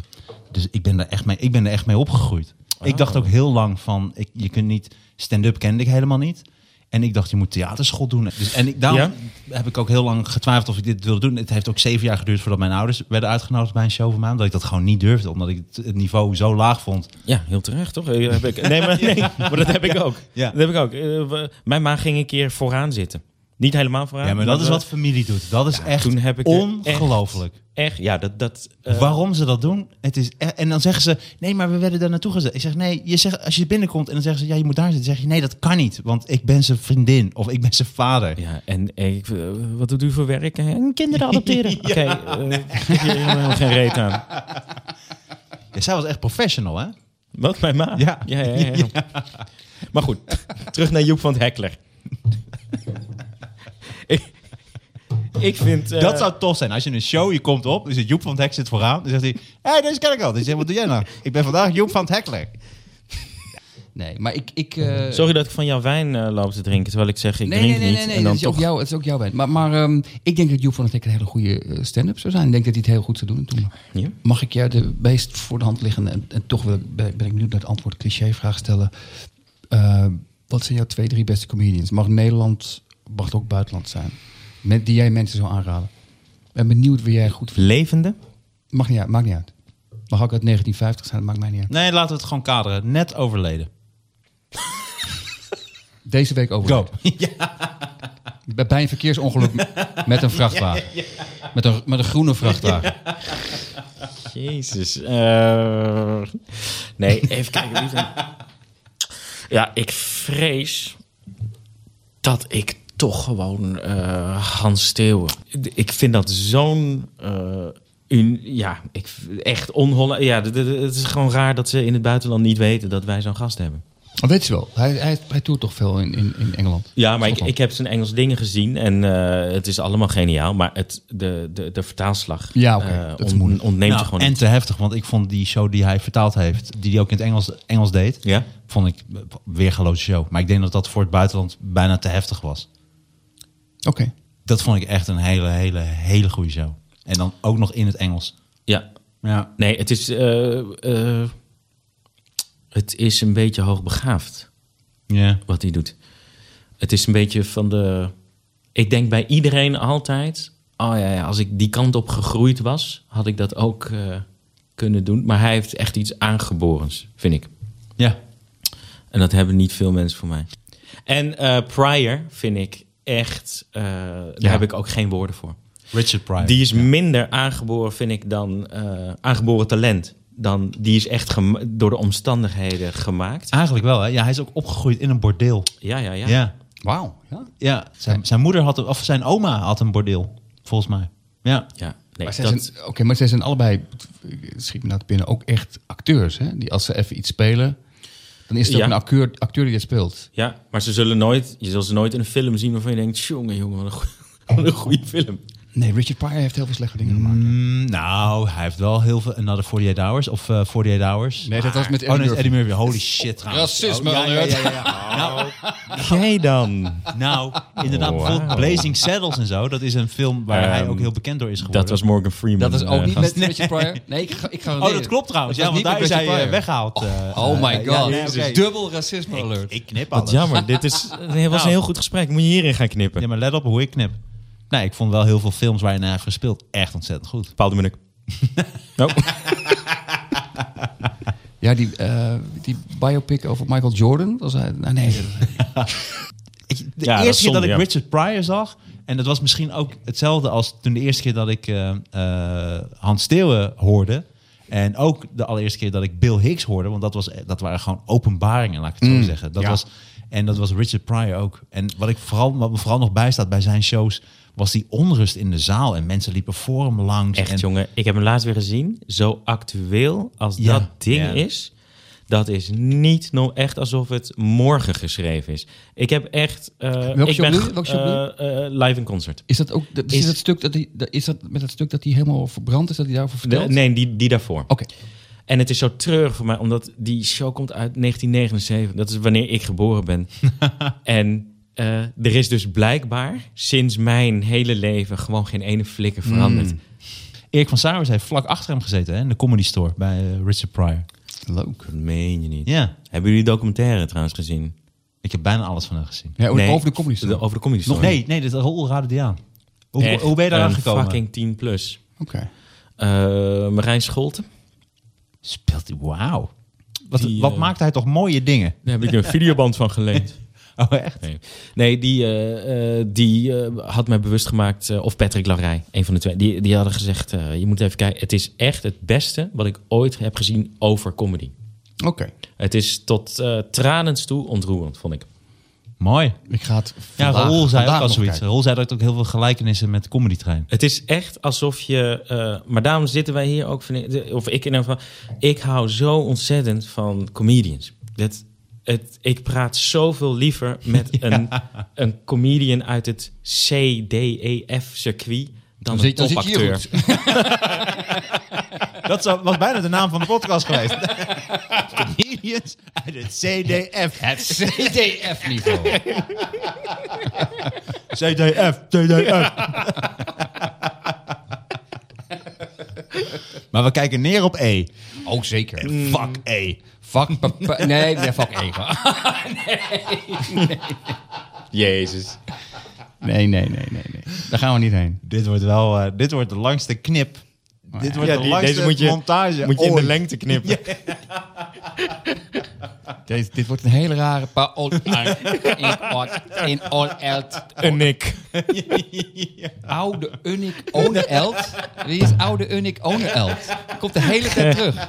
dus ik ben, daar echt mee, ik ben
Oh.
er echt mee opgegroeid. Ik dacht ook heel lang van... Ik, je kunt niet... Stand-up kende ik helemaal niet. En ik dacht, je moet theaterschool doen. Dus, en ik, daarom heb ik ook heel lang getwijfeld of ik dit wilde doen. Het heeft ook zeven jaar geduurd voordat mijn ouders werden uitgenodigd bij een show van mij. Omdat ik dat gewoon niet durfde. Omdat ik het- het niveau zo laag vond.
Ja, heel terecht, toch? Eh, Heb ik, nee, maar,
<laughs>
nee, <laughs> maar dat heb ik ook.
Ja.
Dat heb ik ook. Eh, we- mijn ma ging een keer vooraan zitten. Niet helemaal vooraan.
Ja, maar dat is
we-
wat familie doet. Dat is echt
toen heb ik er
ongelooflijk.
Echt, ja, dat... dat eh,
Waarom ze dat doen? Het is e- en dan zeggen ze, nee, maar we werden daar naartoe gezet. Ik zeg, nee, je zegt, als je binnenkomt en dan zeggen ze, ja, je moet daar zitten. Dan zeg je, nee, dat kan niet, want ik ben zijn vriendin of ik ben zijn vader.
Ja, en eh, ik, eh, wat doet u voor werk? Eh, Kinderen <laughs> adopteren. Oké, eh, ik heb hier helemaal geen reet aan.
Ja, zij was echt professional, hè?
Wat, mijn ma?
Ja.
Ja, ja, ja. Maar goed, terug naar Joep van het Hekler. ik, ik vind... eh,
dat zou tof zijn. Als je in een show, je komt op, dus het Joep van het Hek zit vooraan. Dan zegt hij, hé, hey, deze ken ik al. Dan zegt hij, wat doe jij nou? Ik ben vandaag Joep van het Hekler.
Nee, maar ik... ik eh,
Sorry dat ik van jouw wijn eh, loop te drinken, terwijl ik zeg ik
nee,
drink
nee, nee,
niet.
nee, nee,
en
dat
dan
is ook
toch...
jou, het is ook jouw wet. Maar, maar ehm, ik denk dat Joep van het Hek een hele goede eh, stand-up zou zijn. Ik denk dat hij het heel goed zou doen. Toen
Ja.
mag ik jou de meest voor de hand liggende... en, en toch wil ik, ben, ben ik nu naar het antwoord cliché-vraag stellen. Eh, wat zijn jouw twee, drie beste comedians? Mag Nederland, mag het ook buitenland zijn? Met, die jij mensen zou aanraden. Ik ben benieuwd wie jij goed vindt.
Levende?
Mag niet uit, maakt niet uit. Mag ook uit 1950 zijn, dat maakt mij niet uit.
Nee, laten we het gewoon kaderen. Net overleden.
Deze week over.
Go. <laughs>
Bij- Bij een verkeersongeluk m- met een
<laughs>
vrachtwagen. Met, een, met een groene vrachtwagen.
Jezus. eh, nee, even kijken. wie zijn- Ja, ik vrees dat ik toch gewoon eh, Hans Steeuwen. Ik vind dat zo'n... eh, un- ja, ik, echt onholland. Ja, d- d- het is gewoon raar dat ze in het buitenland niet weten dat wij zo'n gast hebben.
Maar Weet je wel, hij, hij, hij toert toch veel in, in, in Engeland.
Ja, maar ik,
Schotland.
ik heb zijn Engels dingen gezien en eh, het is allemaal geniaal. Maar het, de, de, de vertaalslag
Ja, oké,
eh,
dat is
ont-
moeilijk.
ontneemt
Nou,
je gewoon
en
niet.
te heftig, want ik vond die show die hij vertaald heeft, die hij ook in het Engels, Engels deed,
Ja?
vond ik eh, weergeloze show. Maar ik denk dat dat voor het buitenland bijna te heftig was.
Oké.
Dat vond ik echt een hele, hele, hele goede show. En dan ook nog in het Engels.
Ja,
Ja.
Nee, het is, eh, eh, het is een beetje hoogbegaafd
Ja.
wat hij doet. Het is een beetje van de. Ik denk bij iedereen altijd. Oh ja, ja als ik die kant op gegroeid was, had ik dat ook eh, kunnen doen. Maar hij heeft echt iets aangeborens, vind ik.
Ja.
En dat hebben niet veel mensen voor mij. En eh Pryor vind ik echt. eh, Daar heb ik ook geen woorden voor.
Richard Pryor.
Die is minder aangeboren, vind ik, dan eh, aangeboren talent. Dan, die is echt gema- door de omstandigheden gemaakt.
Eigenlijk wel, hè? Ja, hij is ook opgegroeid in een bordeel.
Ja, ja, ja.
Ja. Ja.
Wauw. Ja.
Zijn, zijn moeder had, of zijn oma had een bordeel, volgens mij. Ja.
ja. Nee,
Maar
dat,
zij zijn, oké, maar zij zijn allebei, ik schiet me nou te binnen, ook echt acteurs. Hè? Die als ze even iets spelen, dan is er
Ja.
ook een acteur, acteur die dat speelt.
ja, maar ze zullen nooit, je zult ze nooit in een film zien waarvan je denkt... jongen, jongen, wat een goeie, <laughs> wat een goeie film.
Nee, Richard Pryor heeft heel veel slechte dingen gemaakt.
Mm, nou, hij heeft wel heel veel... Another 48 Hours of eh 48 Hours.
Nee, dat was met
Oh, nee, dat is
Eddie Murphy.
Eddie Murphy. Holy shit, trouwens.
Racisme,
Oh, ja, ja,
alert. Oh.
ja, ja, ja.
Jij dan? <laughs>
Nou, inderdaad, bijvoorbeeld Blazing Saddles en zo. Dat is een film waar hij
Ehm,
ook heel bekend door is geworden.
Dat was Morgan Freeman.
Dat is ook
eh,
niet
gast.
<laughs>
met Richard Pryor. Nee, ik, ga, ik ga
Oh, dat klopt trouwens. Ja,
Dat was
want daar is
niet met
hij
Richard
eh,
Pryor.
weggehaald. eh,
Oh
eh,
my
ja,
god.
nee, oké.
Dubbel racisme alert.
Ik knip
Wat
alles.
jammer, dit <laughs> is, dit was
Nou.
een heel goed gesprek. Moet je hierin gaan knippen.
Ja, maar let op hoe ik knip. Nee, ik vond wel heel veel films waarin hij heeft gespeeld echt ontzettend goed.
Paul de <laughs> Munnik. Oh.
Ja, die, eh, die biopic over Michael Jordan. Was hij, nou, nee, dat-
Ik- de
Ja, dat is
eerste keer dat
zonde,
ik
ja.
Richard Pryor zag, en dat was misschien ook hetzelfde als toen de eerste keer dat ik eh, eh, Hans Steeuwen hoorde. En ook de allereerste keer dat ik Bill Hicks hoorde, want dat, was, dat waren gewoon openbaringen, laat ik het
Mm,
zo zeggen. Dat
ja.
was, en dat was Richard Pryor ook. En wat, ik vooral, wat me vooral nog bijstaat bij zijn shows, was die onrust in de zaal. En mensen liepen voor hem langs.
Dus
en,
Echt, jongen. Ik heb hem laatst weer gezien. Zo actueel als
Ja.
dat ding
Ja.
is. Dat is niet nou echt alsof het morgen geschreven is. Ik heb echt... eh, ik
show
ben,
bedoel je? Welk show bedoel
eh, eh, live in concert.
Is dat ook dat, is,
Is-
dat stuk dat die, dat- is dat met dat stuk dat hij helemaal verbrand is dat hij daarover
De-
vertelt?
nee, die, die daarvoor.
Oké.
En het is zo treurig voor mij, omdat die show komt uit 1979. Dat is wanneer ik geboren
<laughs>
ben. en eh, er is dus blijkbaar sinds mijn hele leven gewoon geen ene flikker veranderd.
Hmm.
Erik van Sauers heeft vlak achter hem gezeten hè, in de Comedy Store bij eh, Richard Pryor.
Leuk.
Dat meen je niet.
Ja.
Hebben jullie die documentaire trouwens gezien?
Ik heb bijna alles van hen gezien.
Ja,
Nee.
Over de comedy
De-
Store.
Over de comedy
Nog
Store.
nee, nee, dat is Raoul Radediaan. Hoe,
Echt
hoe ben je daar
een
aangekomen?
fucking 10 plus.
Oké.
Eh, Marijn Scholten.
Speelt hij, wauw. Wat,
Die,
wat
eh,
maakt hij toch mooie dingen?
Daar heb ik
<laughs>
een videoband van geleend.
Oh, echt?
Nee, nee die, eh, eh, die eh, had mij bewust gemaakt, eh, of Patrick Larrey, een van de twee. Die, die hadden gezegd, eh, je moet even kijken. Het is echt het beste wat ik ooit heb gezien over comedy.
Oké.
Het is tot eh tranens toe ontroerend, vond ik.
Mooi.
Ik ga het
Ja,
vandaag-
Raoul zei ook
vandaag
al
nog
zoiets.
kijken.
Raoul zei dat ook heel veel gelijkenissen met de comedy trein.
Het is echt alsof je... eh, maar daarom zitten wij hier ook... vind ik- Of ik in ieder geval... Ik hou zo ontzettend van comedians. Dat, het, ik praat zoveel liever met een, een comedian uit het CDEF-circuit... dan,
Dan
een
zit- dan zit je hier
topacteur.
goed.
<laughs> Dat zou- was bijna de naam van de podcast <laughs> geweest. Comedians uit het CDF.
Het <laughs> CDF-niveau.
CDF, CDF. maar we kijken neer op E.
Oh, zeker.
Fuck E.
Fuck pa- pa- Nee, nee, fuck ego.
Jezus.
Nee, nee, nee, nee, nee. Daar gaan we niet heen.
Dit wordt wel, eh, dit wordt de langste knip. Dit wordt
Oh, Ja,
de
die-
langste
deze moet je-
montage.
Moet je in de
ooit.
lengte
<laughs>
knippen.
Deze, dit wordt een hele rare <laughs> paol. In all, in all eld.
Een ik.
<laughs> Oude Unik One Eld. Wie is oude Unik One Eld? Komt de hele tijd
<laughs>
terug.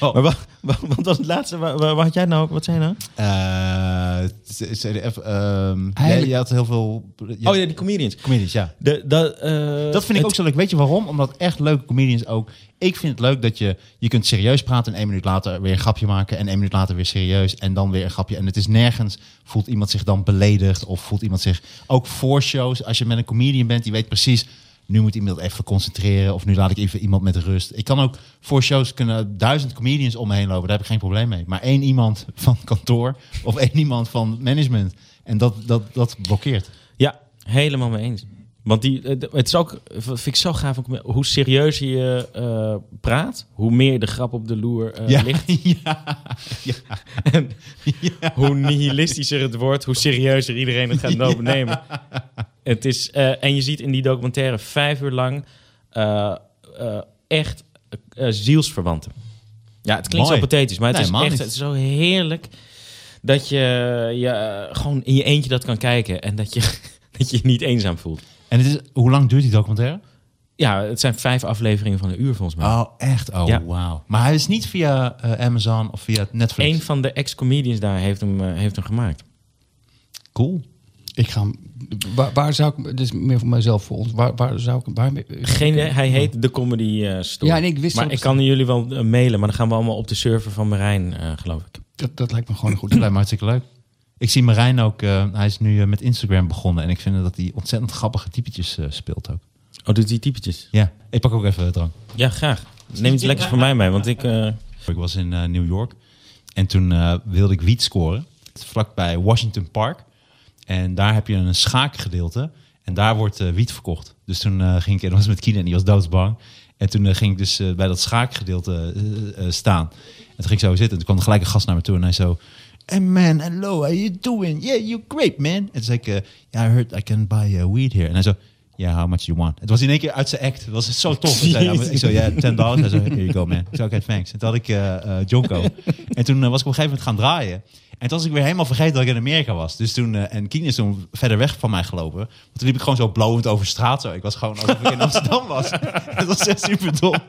Maar wat, wat, wat was het laatste? Wat, wat had jij nou? Wat zei je nou?
Eh, c- CDF. ehm
Eigenlijk-
jij, jij had heel veel. je-
Oh ja, die comedians.
Comedians, ja.
De, dat, eh,
Dat vind ik ook zo leuk. Weet je waarom? Omdat echt leuke comedians ook. Ik vind het leuk dat je. Je kunt serieus praten en één minuut later weer een grapje maken. En één minuut later weer serieus. En dan weer een grapje. En het is nergens. Voelt iemand zich dan beledigd? Of voelt iemand zich. Ook voor shows. Als je met een comedian bent, die weet precies. Nu moet iemand even concentreren. Of nu laat ik even iemand met rust. Ik kan ook voor shows kunnen duizend comedians om me heen lopen. Daar heb ik geen probleem mee. Maar één iemand van kantoor. Of één iemand van management. En dat, dat, dat blokkeert.
Ja, helemaal mee eens. Want die, eh, d- het is ook, v- vind ik zo gaaf, om- hoe serieus je eh, praat, hoe meer de grap op de loer eh, ligt.
<laughs> ja.
En hoe nihilistischer het wordt, hoe serieuzer iedereen het gaat overnemen. Het is, eh, en je ziet in die documentaire vijf uur lang eh, eh, echt eh, zielsverwanten. Ja, het klinkt
Mooi.
zo pathetisch, maar het
Nee,
is
helemaal
echt
niet.
het is zo heerlijk dat je, je eh, gewoon in je eentje dat kan kijken en dat je, <laughs> dat je je niet eenzaam voelt.
En het is, hoe lang duurt die documentaire?
Ja, het zijn vijf afleveringen van een uur volgens mij.
Oh, echt? Oh,
Ja.
wauw. Maar hij is niet via eh, Amazon of via Netflix.
Eén van de ex-comedians daar heeft hem, eh, heeft hem gemaakt.
Cool.
Ik ga... hem- Waar, waar zou ik... Dit is meer voor mezelf, voor ons. Waar, waar zou ik... Waar,
Geen, hij heet de Comedy eh, Store.
Ja, en ik wist
maar
dat
ik
het
kan jullie wel eh, mailen, maar dan gaan we allemaal op de server van Marijn, eh, geloof ik.
dat, dat lijkt me gewoon een goed
Dat lijkt me hartstikke leuk. Ik zie Marijn ook, eh, hij is nu eh, met Instagram begonnen. En ik vind dat hij ontzettend grappige typetjes eh, speelt ook.
Oh, doet die typetjes?
Ja, ik pak ook even drank.
Ja, graag. Neem iets lekkers voor mij mee, want ik... eh,
Ik was in eh, New York en toen eh, wilde ik wiet scoren. Het is Vlakbij Washington Park. En daar heb je een schaakgedeelte. En daar wordt eh, wiet verkocht. Dus toen eh, ging ik, en dat was met Kine en die was doodsbang. En toen eh, ging ik dus eh, bij dat schaakgedeelte eh, eh, staan. En toen ging ik zo zitten. En toen kwam er gelijk een gast naar me toe. En hij zo... Hey man, hello, how you doing? Yeah, you great man. En toen zei ik... eh, yeah, I heard I can buy eh, weed here. En hij zo... Yeah, how much you want? Het was in één keer uit zijn act. Het was zo tof. Hij zei, ja, maar- ik zo, ja, 10 dollars. Hij zo, here you go, man. Ik zei, oké, thanks. En toen had ik eh eh, Jonko. en toen eh, was ik op een gegeven moment gaan draaien. En toen was ik weer helemaal vergeten dat ik in Amerika was. Dus toen, eh, en Kien is toen verder weg van mij gelopen. Want toen liep ik gewoon zo blowend over straat. Zo. Ik was gewoon alsof ik in Amsterdam was. <laughs> dat was echt super dom. <laughs>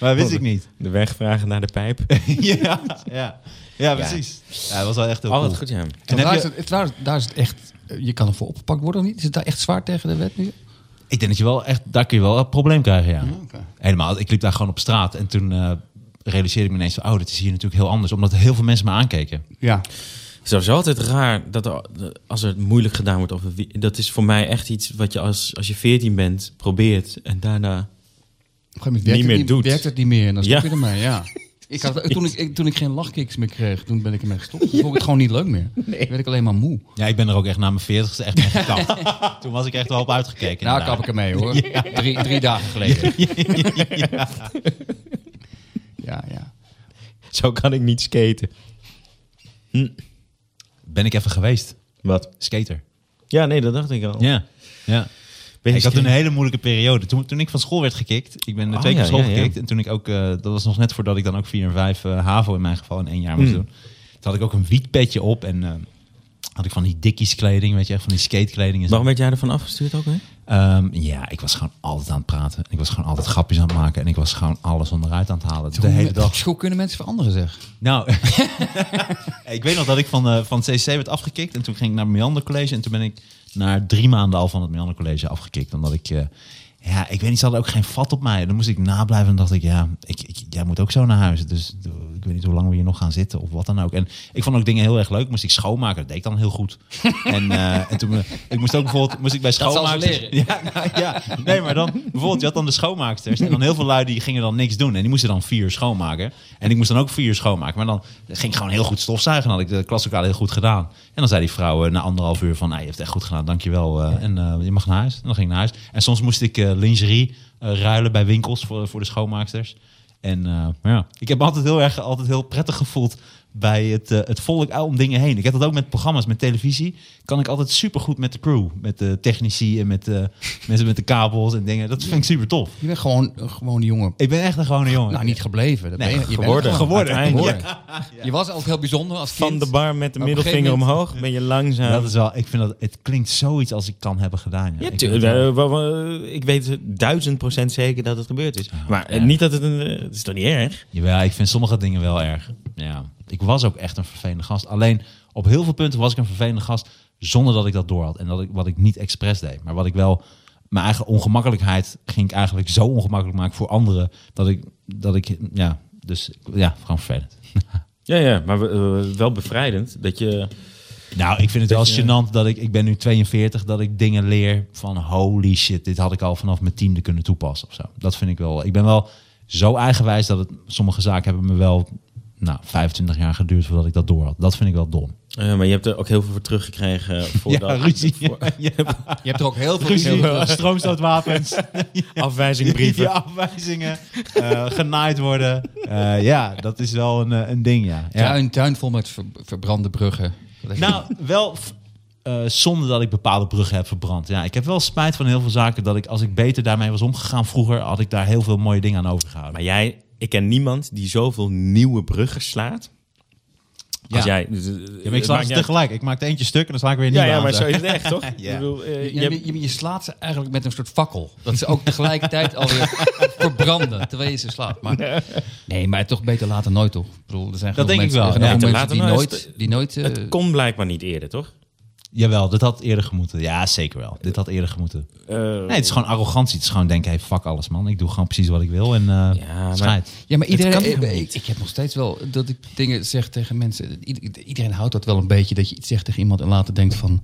maar wist ik niet. <laughs>
de weg vragen naar de pijp. <laughs>
ja, ja. ja, precies. Ja, dat was wel echt heel
Oh,
cool.
wat goed, ja.
En heb
daar,
je-
is het, daar, daar is het echt... Je kan ervoor opgepakt worden of niet? Is het daar echt zwaar tegen de wet nu?
Ik denk dat je wel echt, daar kun je wel een probleem krijgen, ja. Helemaal. Ik liep daar gewoon op straat en toen eh, realiseerde ik me ineens van, oh, dit is hier natuurlijk heel anders, omdat heel veel mensen me aankeken.
Ja.
Het is sowieso altijd raar dat er- eh, als er moeilijk gedaan wordt over wie... Dat is voor mij echt iets wat je als, als je veertien bent probeert en daarna...
Op een gegeven
Niet
moment werkt
meer
het
doet.
Werkt het niet meer en dan
Ja.
stop je ermee, ja. Ik had, toen, ik, ik- toen ik geen lachkicks meer kreeg, toen ben ik ermee gestopt. Toen vond ik het gewoon niet leuk meer. Dan werd ik alleen maar moe. Nou,
Ja, ik ben er ook echt na mijn veertigste echt mee gekapt.
<laughs>
toen was ik echt wel op uitgekeken.
Nou, kap
inderdaad.
ik ermee hoor. Drie,
<laughs>
drie dagen geleden. Ja, ja.
Zo kan ik niet skaten.
Ben ik even geweest.
Wat?
Skater.
Ja, nee, dat dacht ik al.
Ja. ja.
Ben je
Ik had
skater?
een hele moeilijke periode. Toen, toen ik van school werd gekikt, ik ben
Oh,
twee keer
ja,
van school
ja, ja.
gekikt. En toen ik ook, eh, dat was nog net voordat ik dan ook vier en vijf eh, HAVO in mijn geval in één jaar
Hmm.
moest doen. Toen had ik ook een wietpetje op en eh, had ik van die dikkies kleding, weet je, echt van die skatekleding. En zo.
Waarom werd jij ervan afgestuurd ook, hè?
Ehm, ja, ik was gewoon altijd aan het praten. En ik was gewoon altijd grapjes aan het maken. En ik was gewoon alles onderuit aan het halen. De hele dag.
Hoe kunnen mensen veranderen, zeg?
Nou, <laughs> ik weet nog dat ik van, eh, van het CCC werd afgekikt. En toen ging ik naar het Meander College. En toen ben ik na drie maanden al van het Meander College afgekikt. Omdat ik, eh, ja, ik weet niet, ze hadden ook geen vat op mij. En dan moest ik nablijven. En dacht ik, ja, ik, ik, jij moet ook zo naar huis. Dus eh, ik weet niet hoe lang we hier nog gaan zitten of wat dan ook. En ik vond ook dingen heel erg leuk. Moest ik schoonmaken, dat deed ik dan heel
<laughs>
goed. en, eh, en toen, eh, ik moest ook bijvoorbeeld, moest ik bij
zal ze
schoonmaken.
leren.
<laughs> Ja, nou, ja, nee, maar dan bijvoorbeeld, je had dan de schoonmaaksters en dan heel veel lui die gingen dan niks doen en die moesten dan vier uur schoonmaken. En ik moest dan ook vier uur schoonmaken, maar dan ging ik gewoon heel goed stofzuigen. Dan had ik de klaslokaal heel goed gedaan. En dan zei die vrouw eh, na anderhalf uur van, nou, je hebt het echt goed gedaan, dankjewel. eh en eh, je mag naar huis. En dan ging ik naar huis. En soms moest ik eh, lingerie eh, ruilen bij winkels voor, voor de schoonmaaksters. En eh, maar ja, ik heb me altijd heel erg altijd heel prettig gevoeld bij het, eh, het volk om dingen heen. Ik heb dat ook met programma's, met televisie. Kan ik altijd supergoed met de crew, met de technici en met de <laughs> mensen met de kabels en dingen. Dat vind ik super tof.
Je bent gewoon een gewone jongen.
Ik ben echt een gewone jongen.
Nou, niet gebleven. Dat
Nee,
ben je, je bent
geworden.
gewoon.
Geworden.
Geworden. Je was ook heel bijzonder als kind.
Van de bar met de
Op een
middelvinger
gegeven
omhoog ben je langzaam.
Dat is wel, ik vind dat, het klinkt zoiets als ik kan hebben gedaan. Ja,
Ja,
Ik
tu-
vind het wel-
eh, wa- wa- ik weet duizend procent zeker dat het gebeurd is. Maar eh,
ja.
niet dat het een... eh, Het is toch niet erg?
Jawel, ik vind sommige dingen wel erg. Ja. Ik was ook echt een vervelende gast. Alleen op heel veel punten was ik een vervelende gast zonder dat ik dat door had. En dat ik, wat ik niet expres deed. Maar wat ik wel, mijn eigen ongemakkelijkheid ging ik eigenlijk zo ongemakkelijk maken voor anderen. Dat ik, dat ik ja, dus ja, gewoon vervelend.
Ja, ja, maar eh, wel bevrijdend dat je...
Nou, ik vind het wel gênant dat ik, ik ben nu 42, dat ik dingen leer van holy shit, dit had ik al vanaf mijn tiende kunnen toepassen of zo. Dat vind ik wel, ik ben wel zo eigenwijs dat het, sommige zaken hebben me wel, nou, 25 jaar geduurd voordat ik dat door had. Dat vind ik wel dom.
eh, maar je hebt er ook heel veel voor teruggekregen. <laughs> eh, voordat, voor-
Je hebt er ook heel veel
ruzie, stroomstootwapens,
<laughs> afwijzingbrieven.
afwijzingen, eh, genaaid worden. Eh, ja, dat is wel een, eh, een ding, ja. ja.
Tuin, tuin vol met ver- verbrande bruggen.
Nou, wel f- eh, zonder dat ik bepaalde bruggen heb verbrand. Ja, ik heb wel spijt van heel veel zaken dat ik, als ik beter daarmee was omgegaan vroeger, had ik daar heel veel mooie dingen aan overgehouden.
Maar jij, ik ken niemand die zoveel nieuwe bruggen slaat. Als jij...
Ja, maar ik sla ze tegelijk. Ik maak er eentje stuk en dan sla ik weer niet
Ja,
nieuwe
ja,
aan.
maar
zo.
zo is het echt, <laughs> toch?
Ja.
Ik bedoel, eh, je
je,
hebt-
je, je slaat ze eigenlijk met een soort fakkel. Dat ze ook tegelijkertijd alweer
<laughs>
verbranden terwijl je ze slaat. Maar, nee, maar toch beter later nooit, toch? Ik bedoel, er zijn
Dat
genoeg
denk ik
mensen,
wel.
er zijn
Ja,
genoeg
te
mensen
later
die
nooit.
nooit... Die nooit eh,
het kon blijkbaar niet eerder, toch?
Jawel, dat had eerder gemoeten. Ja, zeker wel. Dit had eerder gemoeten.
Eh,
Nee, het is gewoon arrogantie. Het is gewoon denken, hey, fuck alles man. Ik doe gewoon precies wat ik wil en eh
Ja, maar-
schijt.
Ja, maar
Het
iedereen.
kan
Ik,
helemaal
ik,
niet.
ik heb nog steeds wel dat ik dingen zeg tegen mensen. Ieder- Iedereen houdt dat wel een beetje. Dat je iets zegt tegen iemand en later denkt van.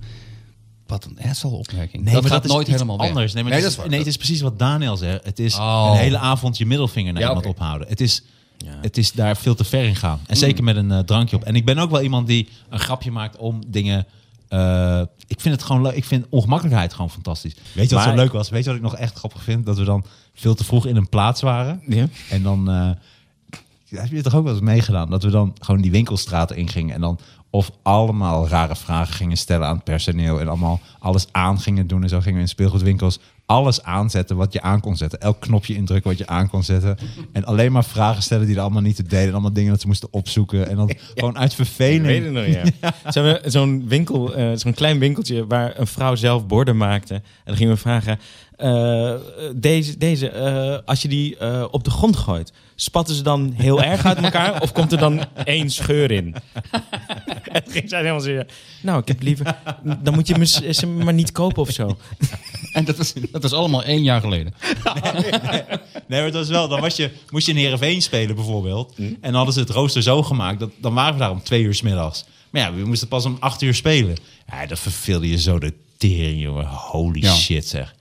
Wat een asshole opmerking.
Nee,
dat
maar
gaat
dat is
nooit
iets
helemaal weg.
anders. Nee, maar dat is,
waar.
nee, het is precies wat Daniel zegt. Het is
Oh.
een hele avond je middelvinger naar
Ja,
iemand
oké.
ophouden. Het is, het is daar veel te ver in gaan. En zeker met een eh, drankje op. En ik ben ook wel iemand die een grapje maakt om dingen... eh, ik vind het gewoon leuk. Ik vind ongemakkelijkheid gewoon fantastisch. Weet je wat
Maar-
zo leuk was? Weet je wat ik nog echt grappig vind? Dat we dan veel te vroeg in een plaats waren. En dan... eh, ja, heb je toch ook wel eens meegedaan? Dat we dan gewoon die winkelstraten ingingen en dan of allemaal rare vragen gingen stellen aan het personeel en allemaal alles aan gingen doen en zo gingen we in speelgoedwinkels alles aanzetten wat je aan kon zetten. Elk knopje indrukken wat je aan kon zetten. En alleen maar vragen stellen die er allemaal niet te deden. En allemaal dingen dat ze moesten opzoeken. En dan gewoon uit
Ik weet het
verveling.
nog,
<laughs>
ja. Ze hebben zo'n winkel, eh, zo'n klein winkeltje waar een vrouw zelf borden maakte. En dan gingen we vragen, eh, deze, deze eh, als je die eh, op de grond gooit, spatten ze dan heel erg uit elkaar of komt er dan één scheur in? en toen ging zij helemaal zeggen, nou, ik heb liever, dan moet je me s- ze maar niet kopen of zo.
En <laughs> dat was, dat was allemaal één jaar geleden.
Nee, maar het was wel. Dan was je, moest je in Heerenveen spelen bijvoorbeeld.
Hm.
En dan hadden ze het rooster zo gemaakt. Dat, dan waren we daar om twee uur 's middags. Maar ja, we moesten pas om acht uur spelen. Ja, dat verveelde je zo de tering, jongen. Holy
Ja.
shit, zeg.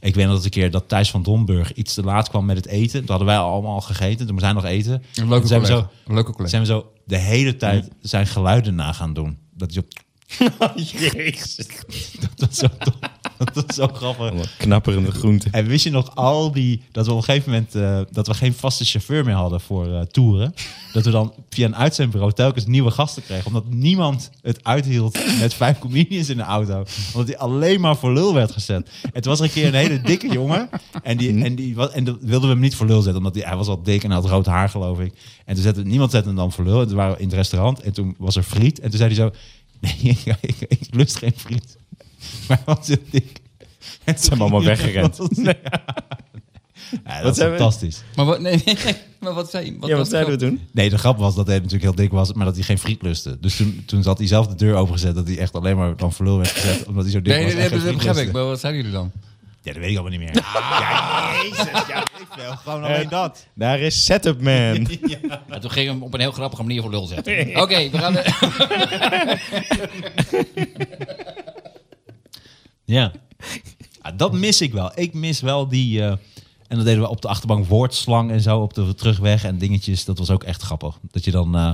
Ik weet nog dat een keer dat Thijs van Domburg iets te laat kwam met het eten. Toen hadden wij allemaal al gegeten. Toen moest hij nog eten.
Een leuke
Toen zijn we
collega.
zo-
Een leuke collega.
zijn we zo de hele tijd
<laughs> Oh,
zijn geluiden na gaan doen. <laughs> Dat is op... dat was zo dom. dat is zo
Oh,
grappig.
Knapperende groente.
En wist je nog al die... Dat we op een gegeven moment... eh, dat we geen vaste chauffeur meer hadden voor eh, toeren. Dat we dan via een uitzendbureau telkens nieuwe gasten kregen. Omdat niemand het uithield met vijf comedians in de auto. Omdat die alleen maar voor lul werd gezet. Het was er een keer een hele dikke jongen. En, die, en, die, wa- en dat wilden we hem niet voor lul zetten. Omdat die, hij was al dik en had rood haar geloof ik. En toen zette, niemand zette hem dan voor lul. En toen waren we in het restaurant. En toen was er friet. En toen zei hij zo... <laughs> Nee, ik, ik, ik lust geen friet. Maar <laughs> hij was heel dik. Het
zijn
<laughs>
allemaal weggerend.
ja,
Wat
dat is
zijn we-
fantastisch.
Maar wat, nee, <laughs> nee, nee, maar wat zei je? Wat was het grap?
toen?
Nee, de grap was dat hij natuurlijk heel dik was, maar dat hij geen friet lustte. Dus toen, toen had hij zelf de deur opengezet dat hij echt alleen maar dan verlul werd gezet, omdat hij zo dik
Nee,
was.
nee,
en geen
nee, dat
friet
begrijp ik.
lustte.
Maar wat zeiden jullie dan?
Ja, dat weet ik allemaal niet meer. Ja, jezus, ja, ik wil
Oh,
gewoon
nou
alleen dat.
Eh, Daar is Setup Man.
Ja, toen ging hem op een heel grappige manier voor lul zetten. Oké, we gaan... <laughs>
Ja. Ja, dat mis ik wel. Ik mis wel die... eh, en dat deden we op de achterbank woordslang en zo op de terugweg en dingetjes. Dat was ook echt grappig. Dat je dan... eh,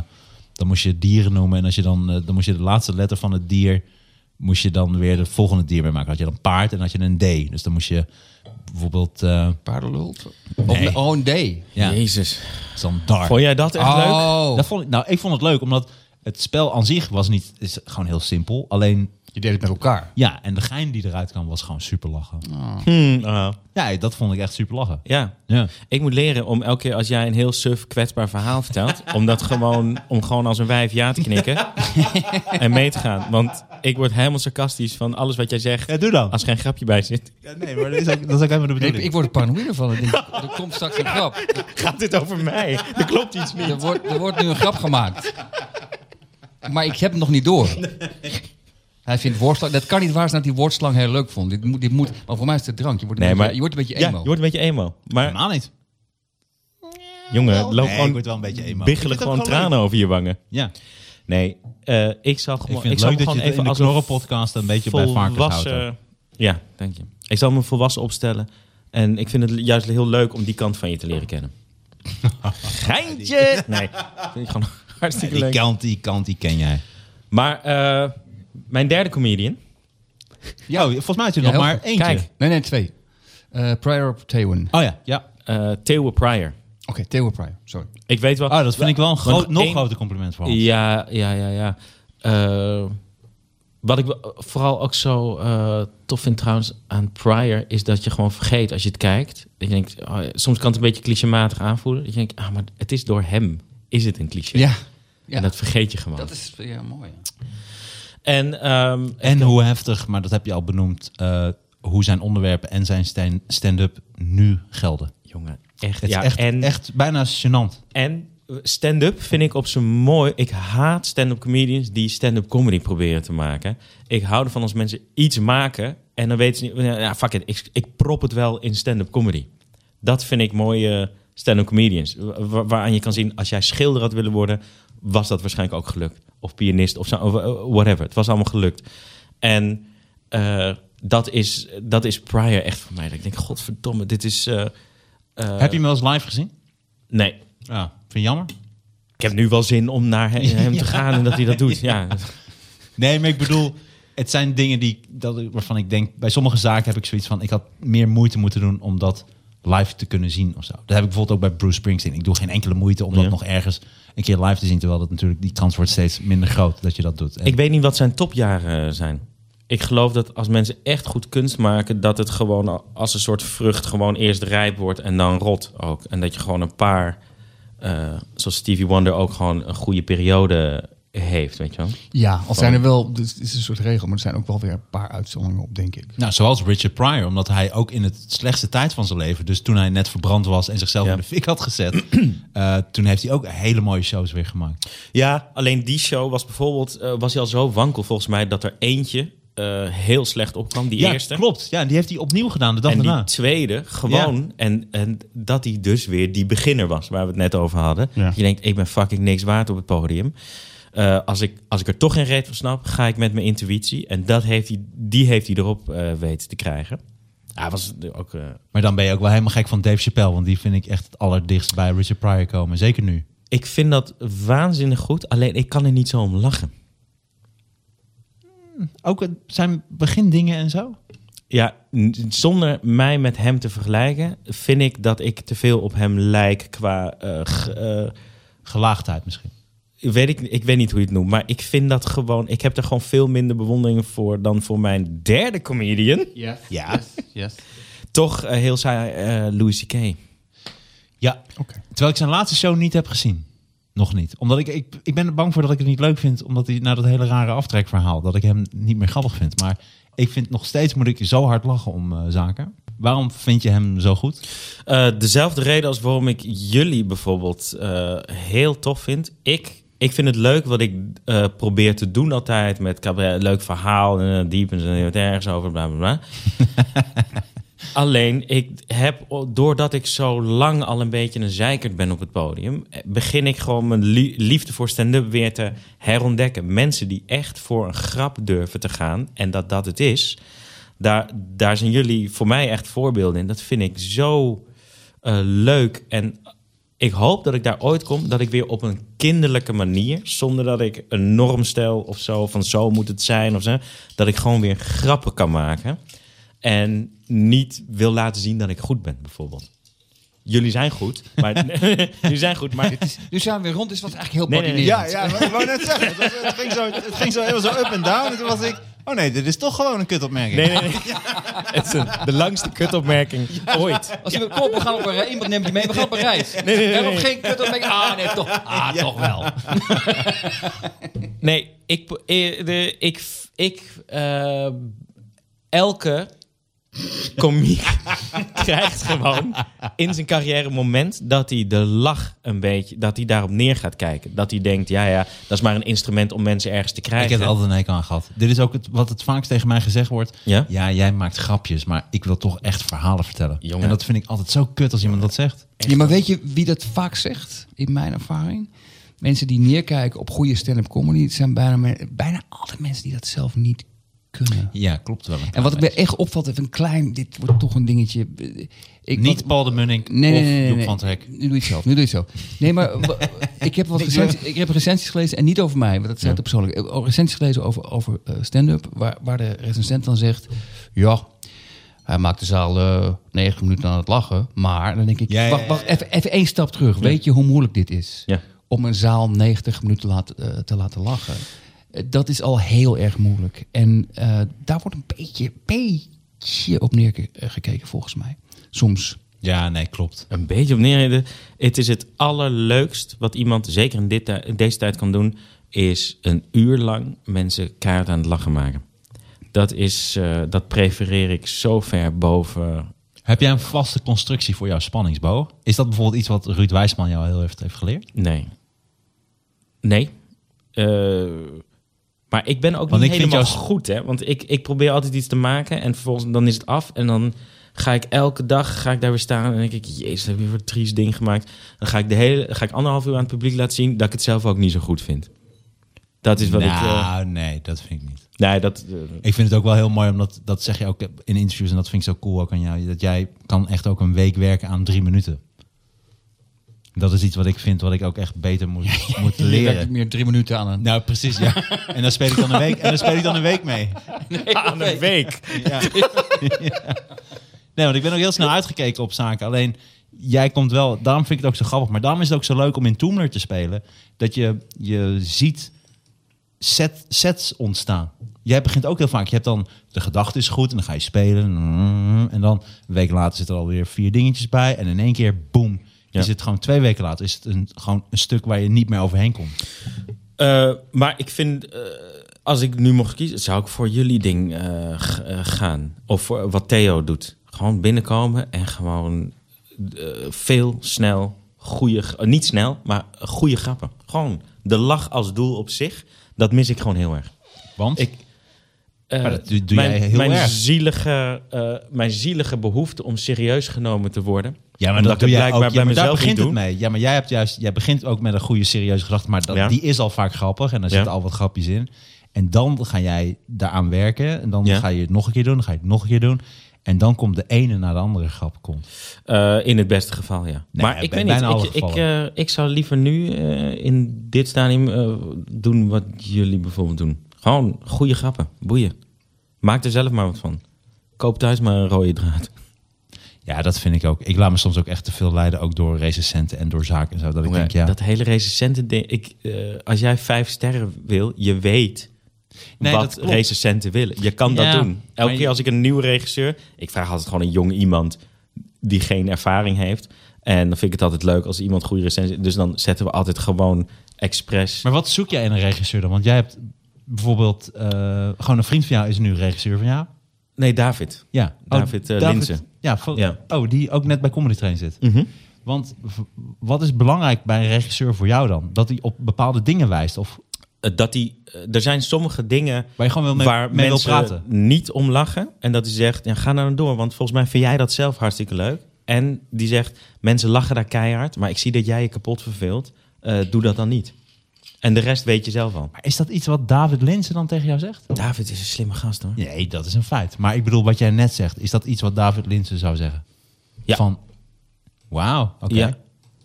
dan moest je dieren noemen en als je dan, eh, dan moest je de laatste letter van het dier... moest je dan weer de volgende dier mee maken. Had je dan paard en had je een D. Dus dan moest je bijvoorbeeld... eh,
Paardenlul?
Nee.
Of oh, een D.
ja,
Jezus.
standaard.
Vond jij dat echt
Ah.
leuk?
Oh.
Dat vond ik, nou, ik vond het leuk omdat het spel aan zich was niet... is gewoon heel simpel. Alleen...
Je deed het met elkaar.
Ja, en de gein die eruit kwam was gewoon super lachen.
Hmm, ah,
Ja, dat vond ik echt super lachen.
ja.
Ja.
Ik moet leren om elke keer als jij een heel suf, kwetsbaar verhaal vertelt... om, dat gewoon, om gewoon als een wijf ja te knikken <laughs> en mee te gaan. Want ik word helemaal sarcastisch van alles wat jij zegt...
Ja, doe dan.
als er geen grapje bij zit.
Ja, nee, maar dat is ook, dat is ook helemaal de
Ik,
bedoeling.
ik word er paranoïde van. Ik denk, Er komt straks een grap.
Gaat dit over mij? Er klopt iets
Er wordt, er wordt nu een grap gemaakt. Maar ik heb hem nog niet door. Hij vindt woordslang... Dat kan niet waar zijn dat hij woordslang heel leuk vond. Dit moet, dit moet, maar voor mij is het drank. Je wordt een,
Nee,
beetje,
maar-
je wordt een beetje
Ja, je
emo.
wordt een beetje emo. Maar
Helemaal niet.
jongen, loop
Nee, ik
gewoon
word wel een beetje emo.
biggelen gewoon tranen over je wangen.
Ja.
Nee, eh, ik zal
Ik
gewoon...
vind het
zal
leuk dat
gewoon
je het in de
als een
Knorren-podcast een beetje bij varkens houdt.
volwassen- Ja, dank je. Ik zal me volwassen opstellen. En ik vind het juist heel leuk om die kant van je te leren kennen. Geintje! Nee, vind ik gewoon hartstikke
<laughs> Die
leuk.
kant, die kant, die ken jij.
Maar eh, mijn derde comedian.
Ja, Oh, volgens mij had je
Ja,
nog
heel
maar
goed.
eentje.
Kijk.
Nee, nee, twee. Eh Prior op Thewen. Oké,
Oh ja, ja.
eh Theo Pryor.
Thewen Prior. Sorry.
Ik weet wel...
Oh, dat vind ik wel een groot, nog
één-
groter compliment voor ons.
Ja, ja, ja, ja. Eh, wat ik wel- vooral ook zo eh, tof vind trouwens aan Prior... is dat je gewoon vergeet als je het kijkt. Dat je denkt, oh, soms kan het een beetje clichématig aanvoelen. Dat je denkt, ah, maar het is door hem. Is het een cliché?
Ja. ja.
En dat vergeet je gewoon.
Dat is ja, mooi. ja.
En, ehm,
En hoe heftig, maar dat heb je al benoemd, eh, hoe zijn onderwerpen en zijn stan- stand-up nu gelden.
jongen, echt.
Het
ja,
is echt,
en,
echt bijna gênant.
en stand-up vind ik op zijn mooi. Ik haat stand-up comedians die stand-up comedy proberen te maken. Ik hou ervan als mensen iets maken en dan weten ze niet. nou, Ja, ja, fuck it, ik, ik prop het wel in stand-up comedy. Dat vind ik mooie stand-up comedians. Wa- wa- waaraan je kan zien, als jij schilder had willen worden, was dat waarschijnlijk ook gelukt. Of pianist of zo, of, eh, whatever. Het was allemaal gelukt. En eh, dat, is, dat is prior echt voor mij. Dat ik denk, godverdomme, dit is. eh, eh,
heb je hem wel eens live gezien?
Nee,
Ja, vind je jammer?
ik heb nu wel zin om naar he- hem
<laughs>
te gaan en dat hij dat doet. Ja.
Nee, maar ik bedoel, het zijn dingen die, dat, ik- waarvan ik denk, bij sommige zaken heb ik zoiets van, ik had meer moeite moeten doen om dat live te kunnen zien of zo. Dat heb ik bijvoorbeeld ook bij Bruce Springsteen. Ik doe geen enkele moeite om dat
Ja.
nog ergens een keer live te zien, terwijl dat natuurlijk die kans wordt steeds minder groot dat je dat doet. En-
Ik weet niet wat zijn topjaren zijn. Ik geloof dat als mensen echt goed kunst maken, dat het gewoon al- als een soort vrucht gewoon eerst rijp wordt en dan rot ook. En dat je gewoon een paar, eh, zoals Stevie Wonder ook gewoon een goede periode heeft, weet je wel.
Ja, al zijn er wel... dus Het is een soort regel, maar er zijn ook wel weer een paar uitzonderingen op, denk ik.
Nou, zoals Richard Pryor, omdat hij ook in het slechtste tijd van zijn leven, dus toen hij net verbrand was en zichzelf
Ja.
in de fik had gezet, <clears throat> eh, toen heeft hij ook hele mooie shows weer gemaakt.
Ja, alleen die show was bijvoorbeeld, eh, was hij al zo wankel volgens mij, dat er eentje eh, heel slecht opkwam, die
ja,
eerste.
klopt. Ja, die heeft hij opnieuw gedaan de dag
en die
daarna.
tweede, gewoon. En, en dat hij dus weer die beginner was, waar we het net over hadden.
Ja.
Je denkt, ik ben fucking niks waard op het podium. Eh, als, ik, als ik er toch geen reet van snap, ga ik met mijn intuïtie. En dat heeft hij, die heeft hij erop eh, weten te krijgen. Hij was ook... eh,
Maar dan ben je ook wel helemaal gek van Dave Chappelle, want die vind ik echt het allerdichtst bij Richard Pryor komen, zeker nu.
ik vind dat waanzinnig goed, alleen ik kan er niet zo om lachen.
Ook het- zijn eh, begindingen en zo.
Ja, n- zonder mij met hem te vergelijken, vind ik dat ik te veel op hem lijk qua. eh, g- eh,
Gelaagdheid misschien.
weet ik, ik weet niet hoe je het noemt, maar ik vind dat gewoon. Ik heb er gewoon veel minder bewondering voor dan voor mijn derde comedian.
Ja.
Ja.
Yes.
Toch eh, heel saai, eh, Louis C.K.
Ja.
Oké.
Terwijl ik zijn laatste show niet heb gezien. Nog niet. Omdat ik, ik, ik ben er bang voor dat ik het niet leuk vind. Omdat hij na dat hele rare aftrekverhaal. dat ik hem niet meer grappig vind. Maar ik vind nog steeds moet ik zo hard lachen om eh, zaken. Waarom vind je hem zo goed?
Eh, dezelfde reden als waarom ik jullie bijvoorbeeld eh, heel tof vind. Ik, ik vind het leuk wat ik eh, probeer te doen altijd met cabaret. Een Leuk verhaal en eh, diep en zo, wat ergens over, bla bla bla. Alleen, ik heb, doordat ik zo lang al een beetje een zeikert ben op het podium, eh, begin ik gewoon mijn lie- liefde voor stand-up weer te herontdekken. Mensen die echt voor een grap durven te gaan en dat dat het is, daar, daar zijn jullie voor mij echt voorbeelden in. Dat vind ik zo eh, leuk. En ik hoop dat ik daar ooit kom, dat ik weer op een kinderlijke manier, zonder dat ik een norm stel of zo, van zo moet het zijn of zo, dat ik gewoon weer grappen kan maken. En niet wil laten zien dat ik goed ben, bijvoorbeeld. Jullie zijn goed, maar. <laughs> jullie zijn goed, maar.
Nu zijn we weer rond, dus was eigenlijk heel
Nee, nee,
nee,
nee.
ja, ik wou net zeggen. Het, was- het ging zo, het ging zo heel zo up en down. En toen was ik. Oh nee, dit is toch gewoon een kutopmerking.
Nee, nee, nee. Het is een- de langste kutopmerking ooit.
Als we kopen, gaan op een
<laughs>
rij. Iemand neemt je mee, we gaan op een reis. Nee, nee, nee. We hebben geen kut op mee. Ah, nee, toch. Ah, toch wel.
Nee, ik. eh, de- ik, ik eh, elke komiek <laughs> krijgt gewoon in zijn carrière een moment dat hij de lach een beetje. dat hij daarop neer gaat kijken. Dat hij denkt, ja, ja, dat is maar een instrument om mensen ergens te
Ik
krijgen.
heb er altijd een hekel aan gehad. Dit is ook het, wat het vaakst tegen mij gezegd wordt.
Ja?
jij maakt grapjes, maar ik wil toch echt verhalen vertellen.
Jongen.
En dat vind ik altijd zo kut als iemand dat zegt.
Ja, maar weet je wie dat vaak zegt, in mijn ervaring? Mensen die neerkijken op goede stand-up comedy, het zijn bijna, me- bijna altijd mensen die dat zelf niet kunnen.
Ja, klopt wel.
En wat ik me echt opvalt, even een klein, dit wordt toch een dingetje. Ik,
Niet
wat-
Paul de Munning
Nee,
of
nee, nee, nee,
Joep
nee.
van het Hek.
Nu doe je het zelf. Nu doe je het zelf. Nee,
<laughs>
maar wa- ik heb, wat recensie, ik heb recensies gelezen, en niet over mij, want dat zijn het persoonlijk. Ik heb ook Recensies gelezen over, over eh, stand-up, waar, waar de recensent dan zegt... Ja, hij maakt de zaal eh 90 minuten aan het lachen. Maar dan denk ik,
Ja, ja,
wacht,
ja,
wacht even, even één stap terug. Weet je hoe moeilijk dit is?
Ja.
Om een zaal 90 minuten laat- eh, te laten lachen. Eh, Dat is al heel erg moeilijk. En eh, daar wordt een beetje, beetje op neergekeken volgens mij. Soms.
Ja, nee, klopt.
Een beetje op neerheden. Het is het allerleukst wat iemand, zeker in, dit, tij- in deze tijd, kan doen. Is een uur lang mensen kaart aan het lachen maken. Dat, is, eh, dat prefereer ik zo ver boven.
Heb jij een vaste constructie voor jouw spanningsboog? Is dat bijvoorbeeld iets wat Ruud Wijsman jou heel heeft, heeft geleerd?
Nee. Nee. Eh, maar ik ben ook
Want
niet
ik vind
helemaal
jou-
goed, hè? Want ik, ik probeer altijd iets te maken en vervolgens dan is het af. En dan ga ik elke dag ga ik daar weer staan en denk ik... Jezus, heb je weer een triest ding gemaakt. Dan ga ik, de hele, ga ik anderhalf uur aan het publiek laten zien... dat ik het zelf ook niet zo goed vind. Dat is wat ik... eh,
Nou, nee, dat vind ik niet.
nee, dat... eh,
Ik vind het ook wel heel mooi, omdat dat zeg je ook in interviews en dat vind ik zo cool ook aan jou. Dat jij kan echt ook een week werken aan drie minuten. Dat is iets wat ik vind, wat ik ook echt beter moet, moet leren.
meer drie minuten aan een...
Nou, precies, ja. En daar speel ik dan een week, en daar speel ik dan een week mee.
aan een week.
Nee, want ik ben ook heel snel uitgekeken op zaken. Alleen, jij komt wel... Daarom vind ik het ook zo grappig. Maar daarom is het ook zo leuk om in Toomler te spelen. Dat je, je ziet set, sets ontstaan. Jij begint ook heel vaak. Je hebt dan... De gedachte is goed en dan ga je spelen. En dan een week later zitten er alweer vier dingetjes bij. En in één keer, boom.
Ja.
Is het gewoon twee weken later. Is het een, gewoon een stuk waar je niet meer overheen komt.
Eh, maar ik vind, eh, als ik nu mocht kiezen, zou ik voor jullie ding eh, g- eh, gaan. Of voor wat Theo doet. Gewoon binnenkomen en gewoon eh, veel, snel, goede, eh, niet snel, maar goede grappen. Gewoon de lach als doel op zich, dat mis ik gewoon heel erg.
Want?
Ik- Eh,
Maar dat doe- doe
mijn,
jij heel
mijn
erg.
Zielige, eh, mijn zielige behoefte om serieus genomen te worden.
Ja, maar
omdat
dat
ik
doe
het
jij
blijkbaar
ook.
bij
Ja, maar daar
mezelf niet
begint het
doe.
mee. Ja, maar jij, hebt juist, jij begint ook met een goede serieuze gedachte, maar dat,
Ja.
die is al vaak grappig en daar
Ja.
zitten al wat grapjes in. En dan ga jij daaraan werken en dan
Ja.
ga je het nog een keer doen, dan ga je het nog een keer doen. En dan komt de ene naar de andere grap. Komt.
Eh, in het beste geval, ja.
Nee,
maar ik
bij-
weet
bijna alle
niet. Ik, ik,
gevallen.
eh, ik zou liever nu eh, in dit stadium eh, doen wat jullie bijvoorbeeld doen. Gewoon goede grappen. Boeien. Maak er zelf maar wat van. Koop thuis maar een rode draad.
Ja, dat vind ik ook. Ik laat me soms ook echt te veel leiden, ook door recensenten en door zaken en zo. Dat ik denk, ja,
Dat hele recensenten ding. Ik, eh, als jij vijf sterren wil, je weet
Nee, dat
wat
klopt.
recensenten willen. Je kan
Ja,
dat doen.
maar
Elke
je-
keer als ik een nieuwe regisseur... Ik vraag altijd gewoon een jong iemand die geen ervaring heeft. En dan vind ik het altijd leuk als iemand goede recensie... Dus dan zetten we altijd gewoon expres...
Maar wat zoek jij in een regisseur dan? Want jij hebt bijvoorbeeld eh, gewoon een vriend van jou is nu regisseur van jou.
Nee, David.
Ja,
David, eh, Linzen.
Ja, vo-
Ja. Mhm.
oh, die ook net bij Comedy Train zit. Want v- wat is belangrijk bij een regisseur voor jou dan? Dat hij op bepaalde dingen wijst of
Eh, Dat die, eh, er zijn sommige dingen
waar je gewoon wel mee,
waar
mee wil
mensen
praten.
niet om lachen. En dat die zegt, ja, ga nou dan door. Want volgens mij vind jij dat zelf hartstikke leuk. En die zegt, mensen lachen daar keihard. Maar ik zie dat jij je kapot verveelt. Eh, doe dat dan niet. En de rest weet je zelf al.
Maar is dat iets wat David Linsen dan tegen jou zegt?
David is een slimme gast hoor.
Nee, dat is een feit. Maar ik bedoel, wat jij net zegt, is dat iets wat David Linsen zou zeggen?
Ja.
Van, wauw, oké.
Ja.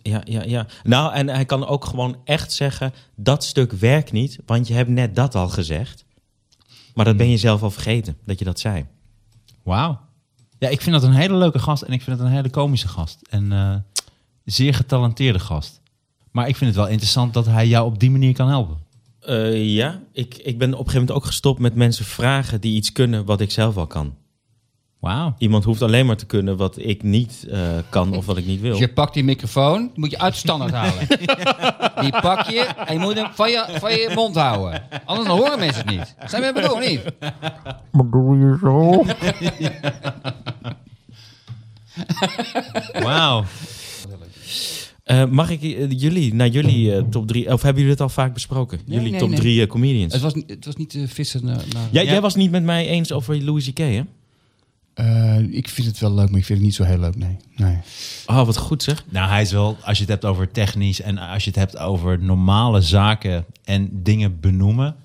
Ja, ja, ja. Nou, en hij kan ook gewoon echt zeggen: dat stuk werkt niet, want je hebt net dat al gezegd. Maar dat ben je zelf al vergeten, dat je dat zei.
Wauw. Ja, ik vind dat een hele leuke gast en ik vind het een hele komische gast. En eh, zeer getalenteerde gast. Maar ik vind het wel interessant dat hij jou op die manier kan helpen.
Eh, ja, ik, ik ben op een gegeven moment ook gestopt met mensen vragen die iets kunnen wat ik zelf al kan.
Wauw.
Iemand hoeft alleen maar te kunnen wat ik niet eh, kan of wat ik niet wil.
Dus je pakt die microfoon, die moet je uit <laughs> standaard halen. Die pak je en je moet hem van je, van je mond houden. Anders dan horen mensen het niet. Zijn we bedoeld of niet?
Wat doe je zo?
Wauw.
Eh, mag ik eh, jullie, naar jullie eh, top drie, of hebben jullie het al vaak besproken?
Nee,
jullie
nee,
top
nee.
drie eh, comedians.
Het was, niet- het was niet eh, vissen naar... naar-
Jij,
Ja.
jij was niet met mij eens over Louis C.K., hè?
Eh, ik vind het wel leuk, maar ik vind het niet zo heel leuk, nee. nee.
Oh, wat goed zeg.
Nou, hij is wel, als je het hebt over technisch en als je het hebt over normale zaken en dingen benoemen,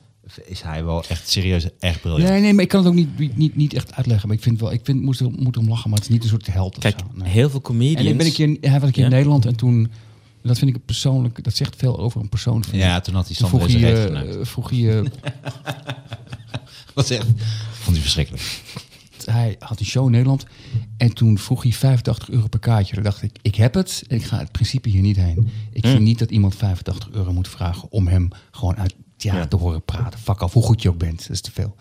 is hij wel echt serieus echt briljant.
Ja.
Nee, nee, maar ik kan het ook niet, niet- niet, niet echt uitleggen. Maar ik vind wel, ik vind, moest er, moet erom lachen, maar het is niet een soort held of
Kijk,
zo. Nee.
heel veel comedians...
En ik ben een keer, hij was een keer in
Ja.
Nederland en toen, dat vind ik persoonlijk, dat zegt veel over een persoon. vind ik.
Ja, toen had hij
Toen
Sander
vroeg
eens reet
je,
geneukt.
eh, vroeg je,
Dat is echt, vond hij verschrikkelijk.
hij had een show in Nederland en toen vroeg hij 85 euro per kaartje. Toen dacht ik, ik heb het en ik ga het principe hier niet heen.
Hm.
Ik vind niet dat iemand 85 euro moet vragen om hem gewoon uit het theater te horen praten. Fuck af, hoe goed je ook bent, dat is te veel.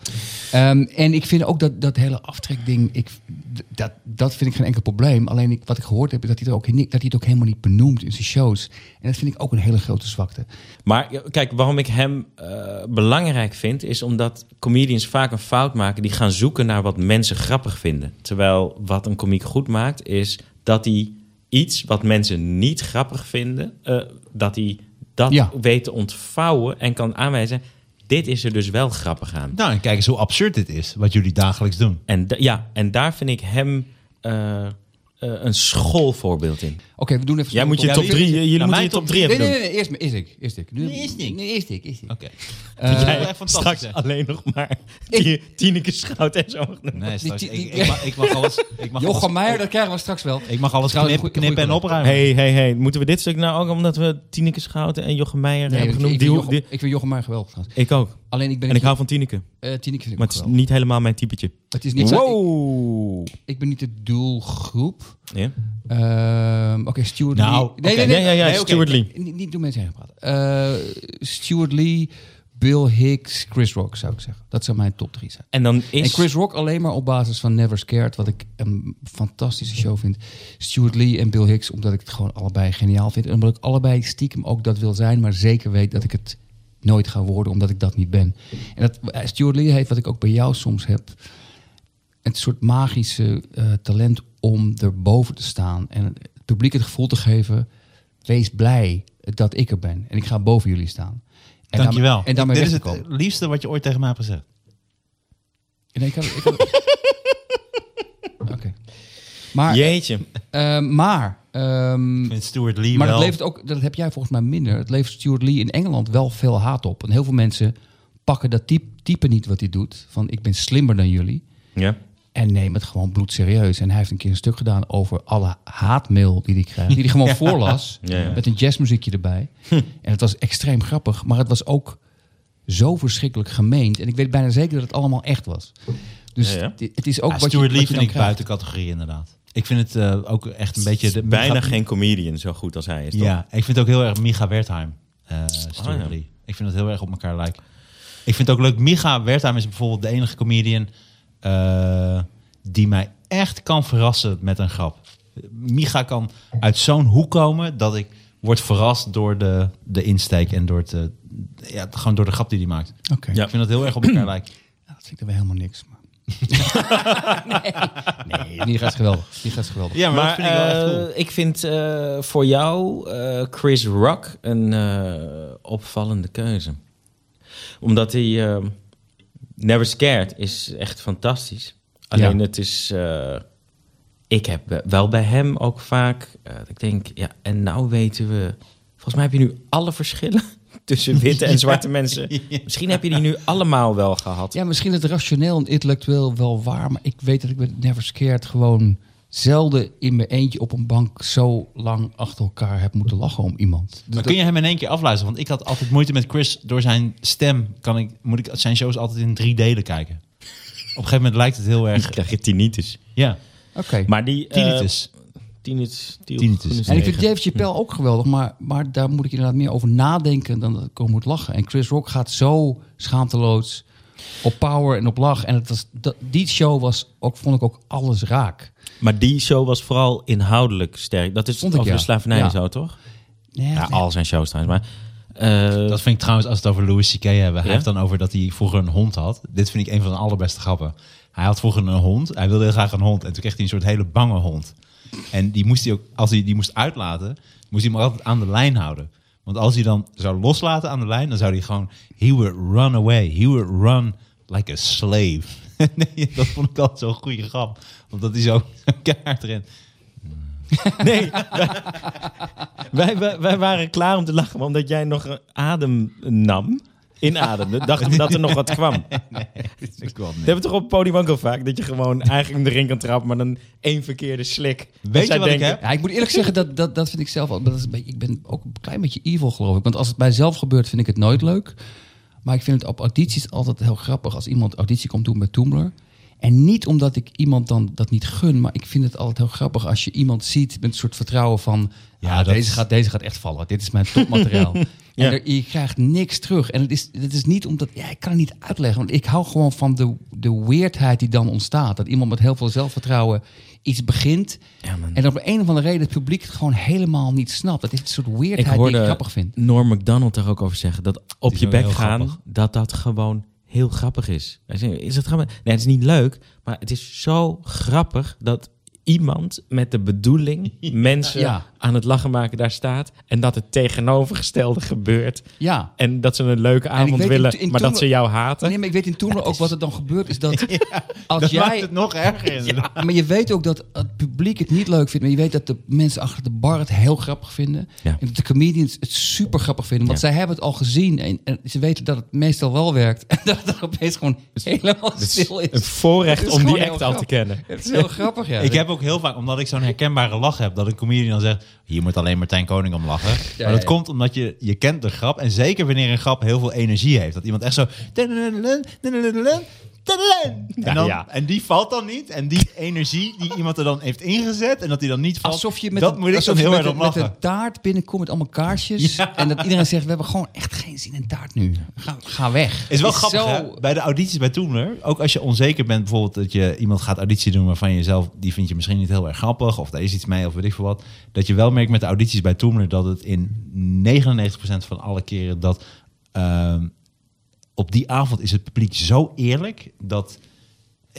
Ehm, en ik vind ook dat, dat hele aftrekding, ik, d- dat, dat vind ik geen enkel probleem. Alleen ik, wat ik gehoord heb, is dat hij, er ook, niet- dat hij het ook helemaal niet benoemt in zijn shows. En dat vind ik ook een hele grote zwakte.
Maar ja, kijk, waarom ik hem eh, belangrijk vind, is omdat comedians vaak een fout maken. Die gaan zoeken naar wat mensen grappig vinden. Terwijl wat een komiek goed maakt, is dat hij iets wat mensen niet grappig vinden, eh, dat hij dat
Ja.
weet te ontvouwen en kan aanwijzen. Dit is er dus wel grappig aan.
Nou, en kijk eens hoe absurd dit is, wat jullie dagelijks doen.
En, da- ja, en daar vind ik hem eh, eh, een schoolvoorbeeld in.
Oké, we doen even...
Jij moet je
Ja,
top
wie-
drie, eh, jullie moeten
mijn
je
top
top drie
Nee,
hebben
nee,
doen.
nee, nee, eerst, eerst ik. Eerst ik. Nu,
Nee, eerst ik.
Nee, eerst ik. Eerst ik.
Oké.
Eh,
Jij
Eh, fantastisch,
straks
hè?
alleen nog maar die, Tineke Schout en zo.
Nee, straks,
die-
ik,
die-
ik, mag, ik mag alles, ik mag alles,
Jochem Meijer, dat krijgen we straks wel.
ik mag alles
Trouwens,
knip-
goeie- goeie
knippen en
collega.
opruimen.
Hey, hey, hey. Moeten we dit stuk nou ook omdat we Tineke Schouten en Jochem Meijer
Nee,
hebben
ik,
genoemd?
ik,
Die,
vind
ho-
Jochem,
die-
ik vind Jochem Meijer geweldig trouwens.
ik ook.
Alleen ik ben
En ik
niet-
hou van Tineke.
eh, Tineke vind ik
Maar
ook
het is
geweldig.
niet helemaal mijn typetje.
Het is niet zo-
Wow.
ik, ik ben niet de doelgroep.
Ja?
Ehm, Oké, Stuart
Nou,
Lee. Nee,
oké. Ja,
nee, nee.
ja, ja,
Nee, oké.
Stuart Lee.
Niet, niet doen mensen heen praten. Eh, Stuart Lee, Bill Hicks, Chris Rock zou ik zeggen. Dat zou mijn top drie zijn.
En dan is...
En Chris Rock alleen maar op basis van Never Scared, wat ik een fantastische show vind. Stuart Lee en Bill Hicks, omdat ik het gewoon allebei geniaal vind. En omdat ik allebei stiekem ook dat wil zijn, maar zeker weet dat ik het nooit ga worden, omdat ik dat niet ben. En dat, eh, Stuart Lee heeft, wat ik ook bij jou soms heb, een soort magische eh, talent om erboven te staan. En het publiek het gevoel te geven, wees blij dat ik er ben. En ik ga boven jullie staan. En
Dankjewel.
daarmee- En daarmee
Dit
weg
is
te
het
komen.
liefste wat je ooit tegen mij hebt gezegd.
Nee, ik had- ik had-
<laughs>
Oké. Maar,
Jeetje. <laughs>
ehm, maar, ehm,
Ik vind Stuart Lee
maar dat
wel...
levert ook, dat heb jij volgens mij minder. Het levert Stuart Lee in Engeland wel veel haat op. En heel veel mensen pakken dat type, type niet wat hij doet. Van ik ben slimmer dan jullie.
Ja.
En neem het gewoon bloedserieus. En hij heeft een keer een stuk gedaan over alle haatmail die hij krijgt. Die hij gewoon voorlas.
<laughs> Ja, ja.
Met een
<laughs>
jazzmuziekje erbij. En het was extreem grappig. Maar het was ook zo verschrikkelijk gemeend. En ik weet bijna zeker dat het allemaal echt was. Dus
Ja, ja.
di- het is ook
Ja,
wat je,
Ah, Stuart Lee
wat je
vind
dan
ik
krijgt.
buiten categorie inderdaad. Ik vind het eh, ook echt een beetje... De,
Bijna
Micha-
geen comedian zo goed als hij is. Toch?
Ja, ik vind het ook heel erg Micha Wertheim. eh Stuart
Ah, ja.
Lee. Ik vind dat heel erg op elkaar lijken. Ik vind het ook leuk. Micha Wertheim is bijvoorbeeld de enige comedian... eh, die mij echt kan verrassen met een grap. Micha kan uit zo'n hoek komen dat ik word verrast door de, de insteek en door het, eh, ja, gewoon door de grap die hij maakt.
Oké.
Ja.
Ik vind dat heel erg op elkaar lijken.
Nou, dat vind ik dan weer helemaal niks.
<laughs>
Maar...
Nee, die gaat geweldig. Die gaat geweldig.
Ja,
maar eh, ik vind, eh, voor jou eh, Chris Rock een eh, opvallende keuze. Omdat hij... eh, Never Scared is echt fantastisch. Alleen het is... eh, ik heb eh, wel bij hem ook vaak... eh, dat ik denk, ja, en nou weten we... Volgens mij heb je nu alle verschillen <laughs> tussen witte en zwarte mensen. Misschien heb je die nu allemaal wel gehad.
Ja, misschien het rationeel en intellectueel wel waar, maar ik weet dat ik met Never Scared gewoon zelden in mijn eentje op een bank zo lang achter elkaar heb moeten lachen om iemand. Dus
Maar kun je hem in één keer afluisteren? Want ik had altijd moeite met Chris. Door zijn stem kan ik, moet ik zijn shows altijd in drie delen kijken. Op een gegeven moment lijkt het heel erg...
Dan krijg je tinnitus.
Ja,
Oké.
Maar die... eh,
tinnitus.
tinnitus.
Tinnitus.
En ik vind Dave Chappelle ook geweldig, maar, maar daar moet ik inderdaad meer over nadenken dan dat ik over moet lachen. En Chris Rock gaat zo schaamteloos op power en op lach. En het was, dat, die show was ook, vond ik ook alles raak.
Maar die show was vooral inhoudelijk sterk. Dat is
Vond ik,
over
ja.
de slavernij en
Ja.
zo, toch?
Nee,
Ja,
nee.
al zijn shows trouwens. Maar, eh,
dat vind ik trouwens, als we het over Louis C.K. hebben. Hij
Ja?
heeft dan over dat hij vroeger een hond had. Dit vind ik een van de allerbeste grappen. Hij had vroeger een hond. Hij wilde heel graag een hond. En toen kreeg hij een soort hele bange hond. En die moest hij ook, als hij die moest uitlaten, moest hij hem altijd aan de lijn houden. Want als hij dan zou loslaten aan de lijn, dan zou hij gewoon... He would run away. He would run like a slave. <laughs> nee, dat vond ik altijd zo'n goede grap. Omdat hij zo <laughs> keihard erin...
nee, wij, wij, wij waren klaar om te lachen, maar omdat jij nog adem nam, inademde, dachten we dat er nog wat kwam.
Ik wil
We hebben toch op het podium ook al vaak dat je gewoon eigenlijk erin kan trappen, maar dan één verkeerde slik. En
je
zij
wat ik heb?
Ja, ik moet eerlijk zeggen, dat, dat, dat vind ik zelf al. maar Dat is een beetje, ik ben ook een klein beetje evil, geloof ik. Want als het mijzelf gebeurt, vind ik het nooit leuk. Maar ik vind het op audities altijd heel grappig als iemand auditie komt doen met Toemler. En niet omdat ik iemand dan dat niet gun, maar ik vind het altijd heel grappig als je iemand ziet met een soort vertrouwen van.
Ja,
Ja,
dat-
deze, gaat, deze gaat echt vallen. Dit is mijn topmateriaal.
Ja.
En er- je krijgt niks terug. En het is, het is niet omdat. Ja, ik kan het niet uitleggen. Want ik hou gewoon van de, de weirdheid die dan ontstaat. Dat iemand met heel veel zelfvertrouwen iets begint. en dat op een of andere reden het publiek het gewoon helemaal niet snapt. Dat is een soort weirdheid die ik grappig vind.
Norm MacDonald daar ook over zeggen. Dat op
is
je
ook
bek
heel
gaan,
grappig.
dat dat gewoon heel grappig is. Hij zegt, Is het grappig? Nee, het is niet leuk. Maar het is zo grappig dat iemand met de bedoeling mensen
<laughs> Ja.
aan het lachen maken daar staat. En dat het tegenovergestelde <laughs> gebeurt.
Ja.
En dat ze een leuke avond
weet
willen,
in- in
maar dat
toen-
ze jou haten.
Nee, maar ik weet in toen ook wat er dan gebeurt.
<laughs>
Is dat als
Dat maakt
jij
het nog erger. inderdaad.
Maar je weet ook dat het publiek het niet leuk vindt. Maar je weet dat de mensen achter de bar het heel grappig vinden.
Ja.
En dat de comedians het super grappig vinden. Want
Ja.
zij hebben het al gezien. En, en ze weten dat het meestal wel werkt. En <laughs> dat het opeens gewoon helemaal
Het is
stil is.
een voorrecht
Het is
om
gewoon
die
heel
act al te
grappig.
kennen.
Het is heel grappig, ja.
Ik heb ook heel vaak, omdat ik zo'n herkenbare lach heb, dat een comedian dan zegt, hier moet alleen Martijn Koning om lachen.
Ja,
maar dat
ja.
komt omdat je, je kent de grap. En zeker wanneer een grap heel veel energie heeft. Dat iemand echt zo... En, dan,
ja.
en die valt dan niet. En die energie die iemand er dan heeft ingezet en dat die dan niet valt.
Alsof je met,
dat
een,
moet ik
alsof
dan
je
heel
met
erg
een-
om
met
lachen.
een taart binnenkomt met allemaal
<laughs>
kaarsjes. En dat iedereen zegt, we hebben gewoon echt geen zin in taart nu. Ga, ga weg.
Is wel grappig,
zo-
hè? Bij de audities bij Toemler, ook als je onzeker bent, bijvoorbeeld dat je iemand gaat auditie doen waarvan je zelf, die vind je misschien niet heel erg grappig, of daar is iets mee, of weet ik veel wat. Dat je wel merkt met de audities bij Toemler dat het in 99% van alle keren dat ehm, op die avond is het publiek zo eerlijk dat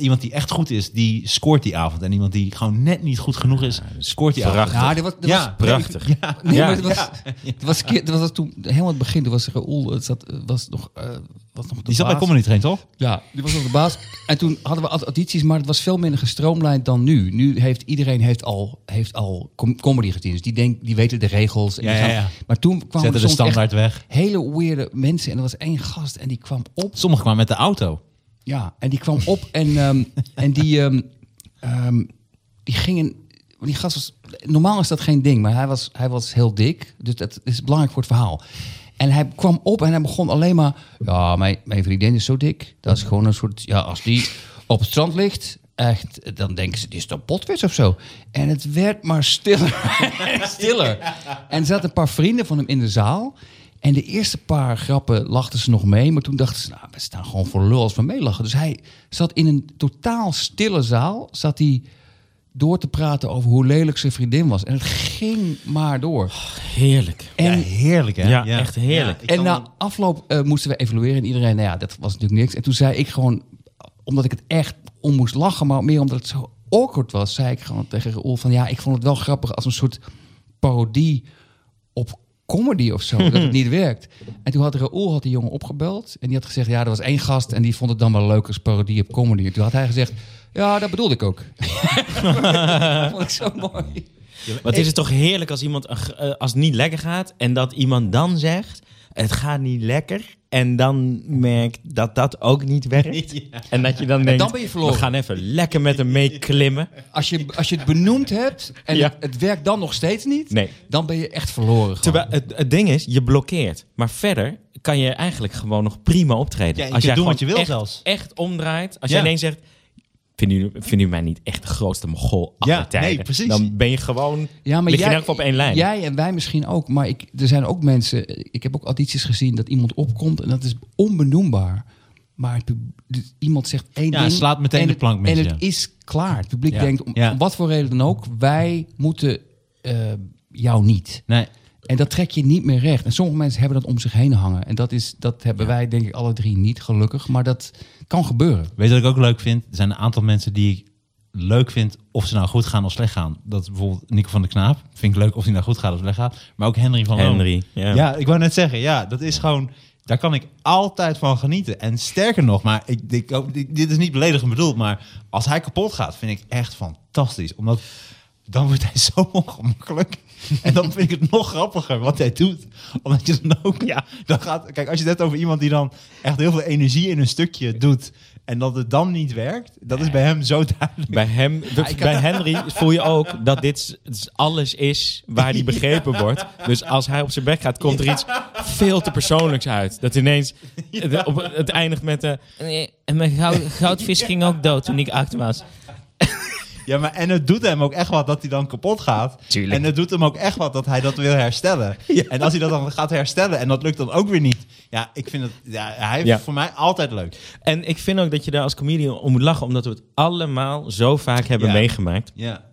iemand die echt goed is, die scoort die avond. En iemand die gewoon net niet goed genoeg is, scoort die avond.
Ja, dat was, dat was
Ja,
Prachtig.
Nee,
Ja.
maar het was, het was, een keer- het was toen helemaal het begin. Toen was Raoul, het zat, was nog, eh, was nog de
Die zat bij
baas.
Comedy Train, toch?
Ja, die was nog de baas. En toen hadden we aud- audities, maar het was veel minder gestroomlijnd dan nu. Nu heeft iedereen heeft al, heeft al com- comedy gezien. Dus die, denk, die weten de regels. En die
Ja, ja,
gaan-
ja.
Maar toen kwamen
Zetten de
er soms echt
standaard weg.
hele weirde mensen. En er was één gast en die kwam op.
Sommigen kwamen met de auto.
Ja, en die kwam op en, ehm, en die, ehm, ehm, die gingen. Die gast was, normaal is dat geen ding, maar hij was, hij was heel dik. Dus dat is belangrijk voor het verhaal. En hij kwam op en hij begon alleen maar... Ja, mijn, mijn vriendin is zo dik. Dat is gewoon een soort... Ja, als die, op het strand ligt. Echt, dan denken ze, dit is toch potwits of zo. En het werd maar stiller en stiller. En er zaten een paar vrienden van hem in de zaal. En de eerste paar grappen lachten ze nog mee. Maar toen dachten ze, nou, we staan gewoon voor lul als we meelachen. Dus hij zat in een totaal stille zaal. Zat hij door te praten over hoe lelijk zijn vriendin was. En het ging maar door.
Heerlijk.
En
ja, heerlijk hè?
Ja, echt heerlijk.
ik
en
kan-
na afloop eh, moesten we evalueren en iedereen, nou ja, dat was natuurlijk niks. En toen zei ik gewoon, omdat ik het echt om moest lachen, maar meer omdat het zo awkward was, zei ik gewoon tegen Roel van, ja, ik vond het wel grappig als een soort parodie op comedy of zo, dat
<laughs>
het niet werkt. En toen had Raoul had die jongen opgebeld en die had gezegd, ja, er was één gast en die vond het dan wel leuk als parodie op comedy. En toen had hij gezegd, ja, dat bedoelde ik
<laughs>
ook. <laughs> dat vond ik zo mooi.
Wat is het toch heerlijk als iemand eh, als het niet lekker gaat en dat iemand dan zegt het gaat niet lekker en dan merkt dat dat ook niet
<laughs>
werkt en dat je dan denkt
dan ben je verloren.
we gaan even lekker met hem meeklimmen.
Als je, als je het benoemd hebt en
Ja.
het, het werkt dan nog steeds niet,
Nee.
dan ben je echt verloren. gewoon.
Terwijl het, het ding is je blokkeert, maar verder kan je eigenlijk gewoon nog prima optreden.
Ja, je
als
kunt
jij
doen wat
gewoon
je wil
echt,
zelfs.
echt omdraait, als
Ja.
jij ineens zegt Vinden jullie, vinden jullie mij niet echt de grootste mogol aller
Ja,
tijden?
nee, precies.
Dan ben je gewoon, lig je in elk geval op één lijn.
Jij en wij misschien ook, maar ik, er zijn ook mensen... Ik heb ook audities gezien dat iemand opkomt en dat is onbenoembaar. Maar het pub- dus iemand zegt één
Ja,
ding...
slaat meteen
en
de
het-
plank mis,
En
ja.
het is klaar. Het publiek
Ja,
denkt, om,
ja.
om wat voor reden dan ook... wij moeten eh, jou niet.
Nee.
En dat trek je niet meer recht. En sommige mensen hebben dat om zich heen hangen. En dat, is, dat hebben wij denk ik alle drie niet, gelukkig. Maar dat kan gebeuren.
Weet je wat ik ook leuk vind? Er zijn een aantal mensen die ik leuk vind of ze nou goed gaan of slecht gaan. Dat is bijvoorbeeld Nico van der Knaap. Vind ik leuk of hij nou goed gaat of slecht gaat. Maar ook Henry van Loon.
Henry, ja.
Ja, ik wou net zeggen. Ja, dat is gewoon... Daar kan ik altijd van genieten. En sterker nog, maar ik, ik, ook- dit- dit is niet beledigend bedoeld, maar als hij kapot gaat, vind ik echt fantastisch. Omdat dan wordt hij <laughs> zo ongemakkelijk. En dan vind ik het nog grappiger wat hij doet. Omdat je dan ook, ja, dan gaat, kijk, als je het hebt over iemand die dan echt heel veel energie in een stukje doet en dat het dan niet werkt, dat is bij hem zo duidelijk.
Bij hem, bij Henry voel je ook dat dit s- s- alles is waar hij begrepen wordt. Dus als hij op zijn bek gaat, komt er iets veel te persoonlijks uit. Dat ineens, het, op, het eindigt met... eh,
En mijn goud- goudvis ging ook dood toen ik acht was.
Ja, maar en het doet hem ook echt wat dat hij dan kapot gaat.
Tuurlijk.
En het doet hem ook echt wat dat hij dat wil
<laughs>
herstellen. En als hij dat dan gaat herstellen en dat lukt dan ook weer niet. Ja, ik vind het, ja, hij is
Ja.
voor mij altijd leuk.
en ik vind ook dat je daar als comedian om moet lachen... omdat we het allemaal zo vaak hebben
Ja.
meegemaakt.
Ja.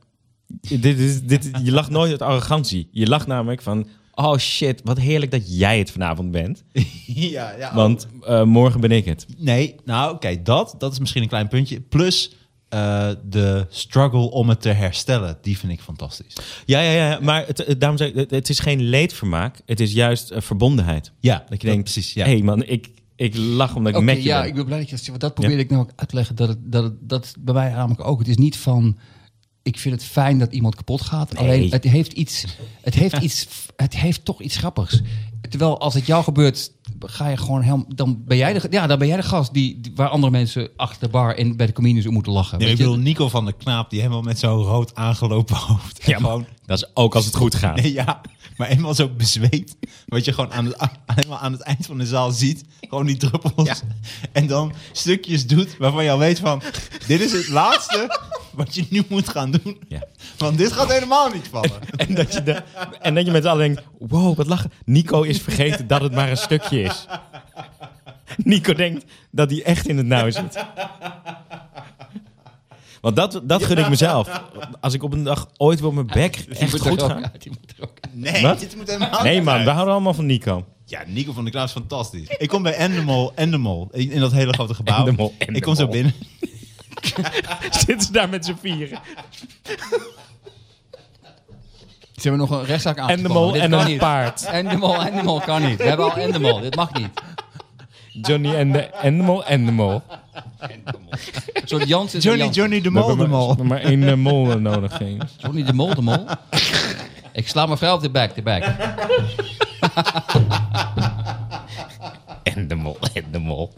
<laughs>
Dit is, dit, is- je lacht nooit uit arrogantie. Je lacht namelijk van... Oh shit, wat heerlijk dat jij het vanavond bent.
ja, ja.
Want eh, morgen ben ik het.
Nee, nou oké, dat, dat is misschien een klein puntje. Plus eh, de struggle om het te herstellen, die vind ik fantastisch.
Ja, ja, ja. Maar het, het- daarom zeg ik, het, het is geen leedvermaak. Het is juist eh, verbondenheid.
Ja,
Dat je denkt,
precies. Ja.
hé hey man, ik, ik lach omdat ik
Oké,
met je
ja,
ben.
ik ben blij dat je dat zegt, want dat probeer ik nou ook uit te leggen. Dat, het, dat, het, dat bij mij namelijk ook. Het is niet van, ik vind het fijn dat iemand kapot gaat. Alleen, het heeft, iets, het, heeft iets, het heeft toch iets grappigs. Terwijl als het jou gebeurt, ga je gewoon helemaal... Dan ben jij de, ja, dan ben jij de gast die, die- waar andere mensen achter de bar en bij de comedians om moeten lachen.
Nee, ik
Weet je?
bedoel, Nico van der Knaap, die helemaal met zo'n rood aangelopen hoofd. en
Ja, maar
gewoon
dat is ook als het goed gaat.
Nee, ja, maar eenmaal zo bezweet. Wat je gewoon aan het, aan, helemaal aan het eind van de zaal ziet. Gewoon die druppels. En dan stukjes doet waarvan je al weet van... Dit is het laatste wat je nu moet gaan doen.
Ja.
Want dit gaat helemaal niet
<laughs>
vallen.
En, dat je de- en dat je met z'n allen denkt, wow, wat lachen. Nico is vergeten dat het maar een stukje is. Nico denkt dat hij echt in het nauw zit. Want dat, dat gun ik mezelf. Als ik op een dag ooit weer op mijn bek
Die
echt
moet er
goed
ook
ga.
uit, <laughs> die moet er ook uit.
Nee,
Wat?
dit moet helemaal
Nee
niet
man,
uit.
we houden allemaal van Nico.
Ja, Nico van der Klaas is fantastisch. Ik kom bij Endemol, Endemol. In in dat hele grote gebouw.
Endemol,
Ik kom zo
Endemol.
binnen.
Zitten ze daar met z'n vieren.
Ze hebben nog een rechtszaak aan.
En de mol en een paard.
En de mol, en de mol kan niet. We hebben al en de mol, dit mag niet.
Johnny en de Animal Animal.
Een soort Jans is
Johnny,
Jans.
Johnny de Mol, de Mol.
Maar één eh, mol nodig. jongens.
Johnny de Mol, de Mol. Ik sla mijn vrouw op de
<laughs>
bek, Nou, de bek.
En de mol, en de mol.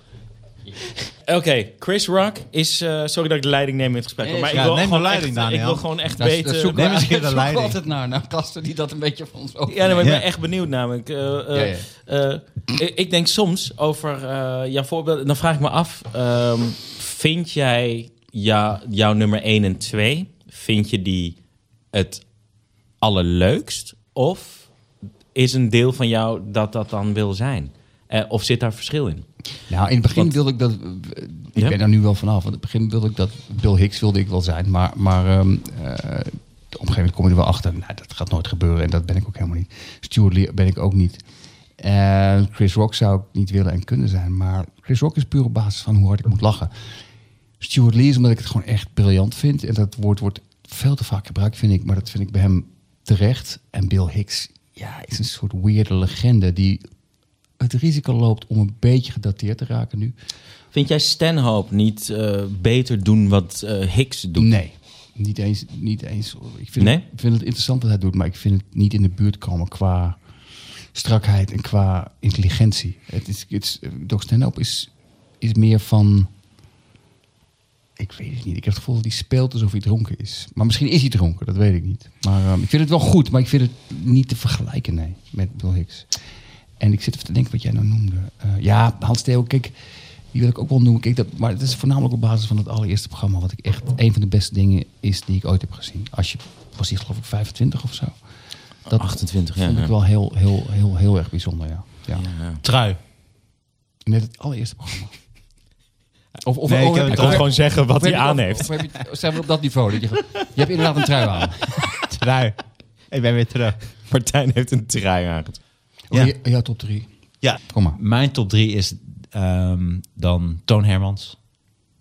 Oké, Chris Rock is... eh, sorry dat ik de leiding neem in het gesprek.
Nee,
maar
ja,
ik wil
neem de
gewoon
leiding,
echt,
Daniel.
Ik wil gewoon echt
Daar-
weten...
daar zoeken
Neem
we-
eens een keer de
daar <laughs> zoeken we
leiding.
altijd naar, naar gasten die dat een beetje van ons over.
ja, nee, maar ik ben
Ja.
echt benieuwd namelijk. Eh, eh,
Ja,
eh, ik- ik denk soms over eh, jouw voorbeeld... Dan vraag ik me af... ehm, Vind jij ja, jouw nummer 1 en 2, vind je die het allerleukst? Of is een deel van jou dat dat dan wil zijn? Eh, of zit daar verschil in?
Nou, in het begin wilde ik dat. Ik
Ja.
ben er nu wel vanaf. Want in het begin wilde ik dat. Bill Hicks wilde ik wel zijn. Maar, maar ehm, eh, op een gegeven moment kom je er wel achter. Nou, dat gaat nooit gebeuren. En dat ben ik ook helemaal niet. Stuart Lee ben ik ook niet. Eh, Chris Rock zou ik niet willen en kunnen zijn. Maar Chris Rock is puur op basis van hoe hard ik moet lachen. Stuart Lee is omdat ik het gewoon echt briljant vind. En dat woord wordt veel te vaak gebruikt, vind ik. Maar dat vind ik bij hem terecht. En Bill Hicks ja, is een soort weirde legende die het risico loopt om een beetje gedateerd te raken nu.
Vind jij Stanhope niet eh, beter doen wat eh, Hicks doet?
Nee, niet eens. Niet eens. Ik vind,
Nee?
het, vind het interessant wat hij doet, maar ik vind het niet in de buurt komen qua strakheid en qua intelligentie. Het is, het is, eh, Doc Stanhope is, is meer van... Ik weet het niet. Ik heb het gevoel dat hij speelt alsof hij dronken is. Maar misschien is hij dronken, dat weet ik niet. Maar ehm, ik vind het wel goed, maar ik vind het niet te vergelijken, nee, met Bill Hicks. En ik zit even te denken wat jij nou noemde. Eh, ja, Hans Theo, kijk, die wil ik ook wel noemen. Kijk, dat, maar het is voornamelijk op basis van het allereerste programma... wat ik echt een van de beste dingen is die ik ooit heb gezien. Als je, was die geloof ik 25 of zo? Dat
28, ja,
vond
ja.
ik wel heel, heel, heel, heel erg bijzonder, ja. ja.
Ja.
Trui.
Net het allereerste programma. <laughs> Of, of,
Nee, ik
of-
heb
of-
het
of-
ook
gewoon zeggen wat
of-
hij
of-
aan
of-
heeft.
of heb je- Zijn we op dat niveau? Dat je, gewoon- je hebt inderdaad een trui aan.
Trui. Ik ben weer terug.
<laughs> Martijn heeft een trui aangetrokken.
Ja.
Ja, ja top 3.
Ja.
Kom maar.
Mijn top drie is ehm, dan Toon Hermans.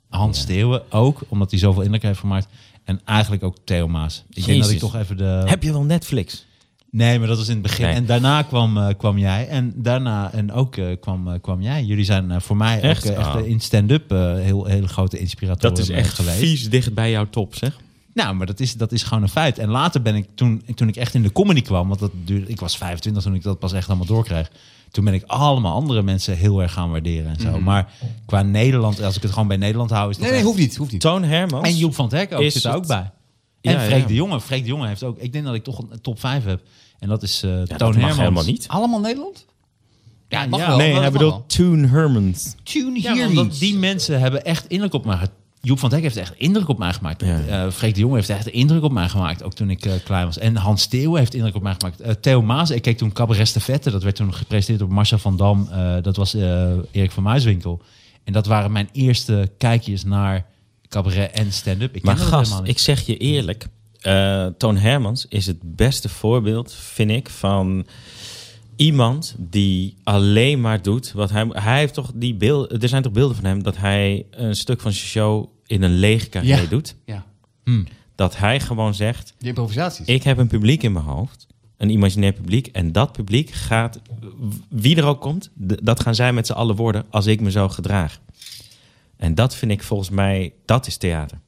Hans Steeuwen ook, omdat hij zoveel indruk heeft gemaakt. En eigenlijk ook Theo Maas. Ik denk dat ik
Jezus.
toch even de...
Heb je wel Netflix?
Nee, maar dat was in het begin.
Nee.
En daarna kwam, eh, kwam jij. En daarna en ook eh, kwam, eh, kwam jij. Jullie zijn eh, voor mij
Echt?
ook eh, echt
Ah.
eh, in stand-up eh, heel, hele grote inspiratoren
Dat is
eh,
echt
geweest.
vies dicht bij jouw top, zeg.
Nou, maar dat is, dat is gewoon een feit. En later ben ik, toen, toen ik echt in de comedy kwam, want dat duurde, ik was 25 toen ik dat pas echt allemaal doorkreeg. Toen ben ik allemaal andere mensen heel erg gaan waarderen en zo.
Mhm.
Maar qua Nederland, als ik het gewoon bij Nederland hou, is dat
Nee, nee,
echt-
hoeft niet. Hoeft niet.
Toon Hermans.
En Joep van het Hek ook,
Is
zit daar
het-
ook bij. En
Ja,
Freek
ja.
de Jonge. Freek de Jonge heeft ook... Ik denk dat ik toch een top 5 heb. En dat is eh Toon
dat mag
Hermans.
helemaal niet.
Allemaal Nederland?
Ja,
mag
ja.
wel.
Nee,
Oh,
hij
dat
bedoelt
wel.
Toon Hermans.
Tune
Ja, omdat die mensen hebben echt indruk op mij ge- Joep van het Hek heeft echt indruk op mij gemaakt.
Ja.
Eh, Freek de Jonge heeft echt indruk op mij gemaakt. Ook toen ik eh, klein was. En Hans Steeuwen heeft indruk op mij gemaakt. Eh, Theo Maas, ik keek toen Cabaret de Vette. Dat werd toen gepresenteerd door Marcel van Dam. Eh, dat was eh, Erik van Muiswinkel. En dat waren mijn eerste kijkjes naar cabaret en stand-up. Ik
Maar
ken dat
gast,
helemaal niet.
ik zeg je eerlijk. eh, Toon Hermans is het beste voorbeeld, vind ik, van iemand die alleen maar doet wat hij... Hij heeft toch die beelden... Er zijn toch beelden van hem dat hij een stuk van zijn show in een leeg café
Ja.
doet?
Ja,
Dat hij gewoon zegt...
die improvisaties.
Ik heb een publiek in mijn hoofd. Een imaginair publiek. En dat publiek gaat, wie er ook komt, d- dat gaan zij met z'n allen worden als ik me zo gedraag. En dat vind ik volgens mij, dat is theater.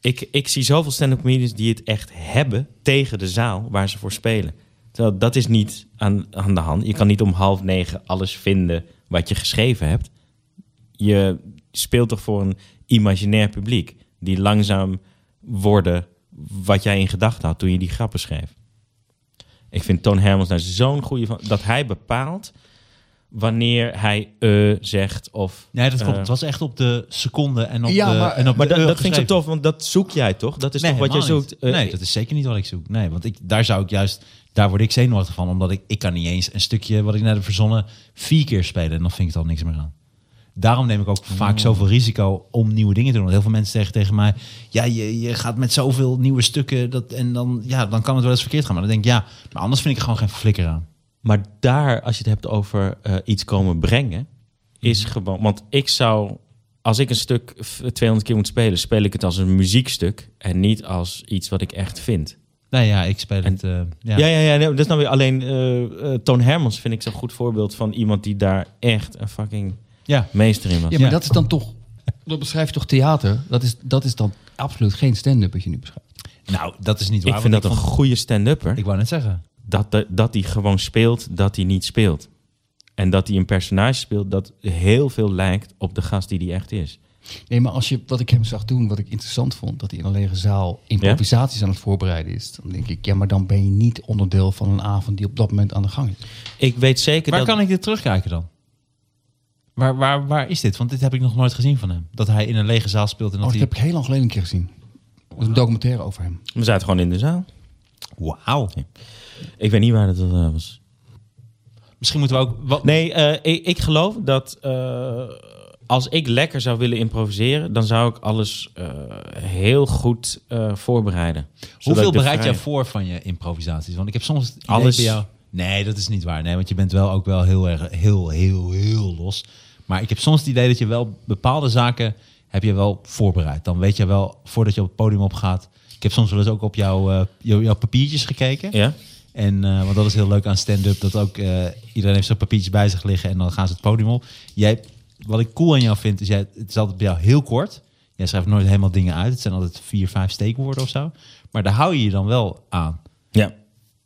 Ik, ik zie zoveel stand-up comedians die het echt hebben tegen de zaal waar ze voor spelen. Terwijl dat is niet aan, aan de hand. Je kan niet om half negen alles vinden wat je geschreven hebt. Je speelt toch voor een imaginair publiek die langzaam worden wat jij in gedachten had toen je die grappen schreef. Ik vind Toon Hermans nou zo'n goede van dat hij bepaalt wanneer hij eh zegt of
Nee, dat klopt.
eh,
het was echt op de seconde en op
Ja,
de...
maar-
en op
maar
de
dat,
euro
dat vind ik zo
eh, geschreven.
tof, want dat zoek jij toch? Dat is toch wat jij
helemaal niet.
zoekt? Eh,
nee, dat is zeker niet wat ik zoek. Nee, want ik, daar zou ik juist, daar word ik zenuwachtig van, omdat ik, ik kan niet eens een stukje wat ik net heb verzonnen vier keer spelen en dan vind ik het al niks meer aan. Daarom neem ik ook
Mm.
vaak zoveel risico om nieuwe dingen te doen. Want heel veel mensen zeggen tegen mij: Ja, je, je gaat met zoveel nieuwe stukken. Dat, en dan, ja, dan kan het wel eens verkeerd gaan. Maar dan denk ik: Ja, maar anders vind ik er gewoon geen flikker aan.
Maar daar, als je het hebt over eh, iets komen brengen, is gewoon. Want ik zou, als ik een stuk f- 200 keer moet spelen, speel ik het als een muziekstuk en niet als iets wat ik echt vind.
Nee, ja, ik speel
En-
het. eh, ja.
Ja, ja, ja. nee, dat is nou weer alleen eh, eh, Toon Hermans vind ik zo'n goed voorbeeld van iemand die daar echt een fucking
ja.
meester in was.
Ja, maar
Ja.
dat is dan toch... Dat beschrijft toch theater? Dat is, dat is dan absoluut geen stand-up wat je nu beschrijft.
Nou, dat is niet waar.
ik vind
want
dat een
vond-
goede stand-upper.
Ik wou net zeggen.
dat, dat, dat hij gewoon speelt dat hij niet speelt. En dat hij een personage speelt dat heel veel lijkt op de gast die hij echt is.
Nee, maar als je wat ik hem zag doen, wat ik interessant vond... dat hij in een lege zaal improvisaties aan het voorbereiden is... dan denk ik, ja, maar dan ben je niet onderdeel van een avond... die op dat moment aan de gang is. Oh,
Ik weet zeker
Waar
dat...
kan ik dit terugkijken dan? Waar, waar, waar is dit? Want dit heb ik nog nooit gezien van hem. Dat hij in een lege zaal speelt en
Oh,
dat
dat
hij...
heb ik heel lang geleden een keer gezien. Er was een documentaire over hem.
We zaten gewoon in de zaal.
Wauw.
Ik weet niet waar dat eh, was.
Misschien moeten we ook... Wat,
Nee, eh, ik, ik geloof dat eh, als ik lekker zou willen improviseren, dan zou ik alles eh, heel goed eh, voorbereiden. Zodat ik
Hoeveel
de
bereid jij
vrije-
voor van je improvisaties? Want ik heb soms het idee
Alles.
bij jou- Nee, dat is niet waar. Nee, want je bent wel ook wel heel erg, heel, heel, heel los. Maar ik heb soms het idee dat je wel bepaalde zaken heb je wel voorbereid. Dan weet je wel voordat je op het podium opgaat. Ik heb soms wel eens ook op jouw, eh, jou- jouw papiertjes gekeken.
Ja?
En, eh, want dat is heel leuk aan stand-up. Dat ook eh, iedereen heeft zo'n papiertje bij zich liggen en dan gaan ze het podium op. Jij, wat ik cool aan jou vind, is jij, het is altijd bij jou heel kort. Jij schrijft nooit helemaal dingen uit. Het zijn altijd vier, vijf steekwoorden of zo. Maar daar hou je je dan wel aan.
Ja.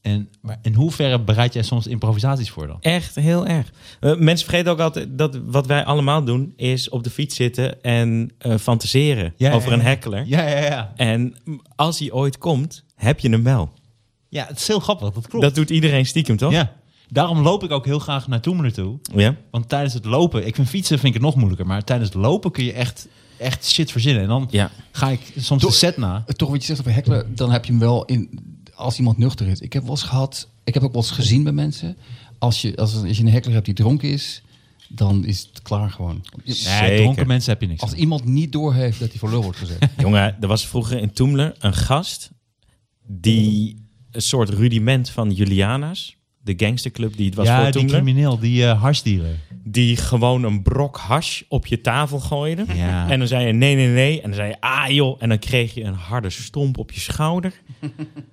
En maar in hoeverre bereid jij soms improvisaties voor dan?
Echt heel erg. Eh, mensen vergeten ook altijd dat wat wij allemaal doen is op de fiets zitten en eh, fantaseren
Ja,
over
ja,
een
ja.
heckler.
Ja, ja, ja.
En als hij ooit komt, heb je hem wel.
Ja, het is heel grappig. Dat klopt.
Dat doet iedereen stiekem, toch?
ja. Daarom loop ik ook heel graag naar Toemer toe.
Ja.
Want tijdens het lopen, ik vind fietsen vind ik het nog moeilijker. Maar tijdens het lopen kun je echt, echt shit verzinnen. En dan
Ja.
ga ik soms de
Doe-
set na.
Eh, Toch wat je zegt over hekkelen, dan heb je hem wel in als iemand nuchter is. Ik heb wel eens gehad, ik heb ook wel eens gezien bij mensen. Als je, als, als je een hekkler hebt die dronken is, dan is het klaar gewoon. Je-
Nee,
Zeker.
dronken mensen heb je niks.
Als
aan.
iemand niet doorheeft dat hij voor lul wordt gezet.
Jongen, er was vroeger in Toemler een gast die een soort rudiment van Juliana's, de gangsterclub die het was
ja,
voor
die
Toemler,
crimineel, die eh harsdealer.
die gewoon een brok hash op je tafel gooide.
Ja.
En dan zei je nee, nee, nee. En dan zei je ah joh. En dan kreeg je een harde stomp op je
<laughs>
schouder,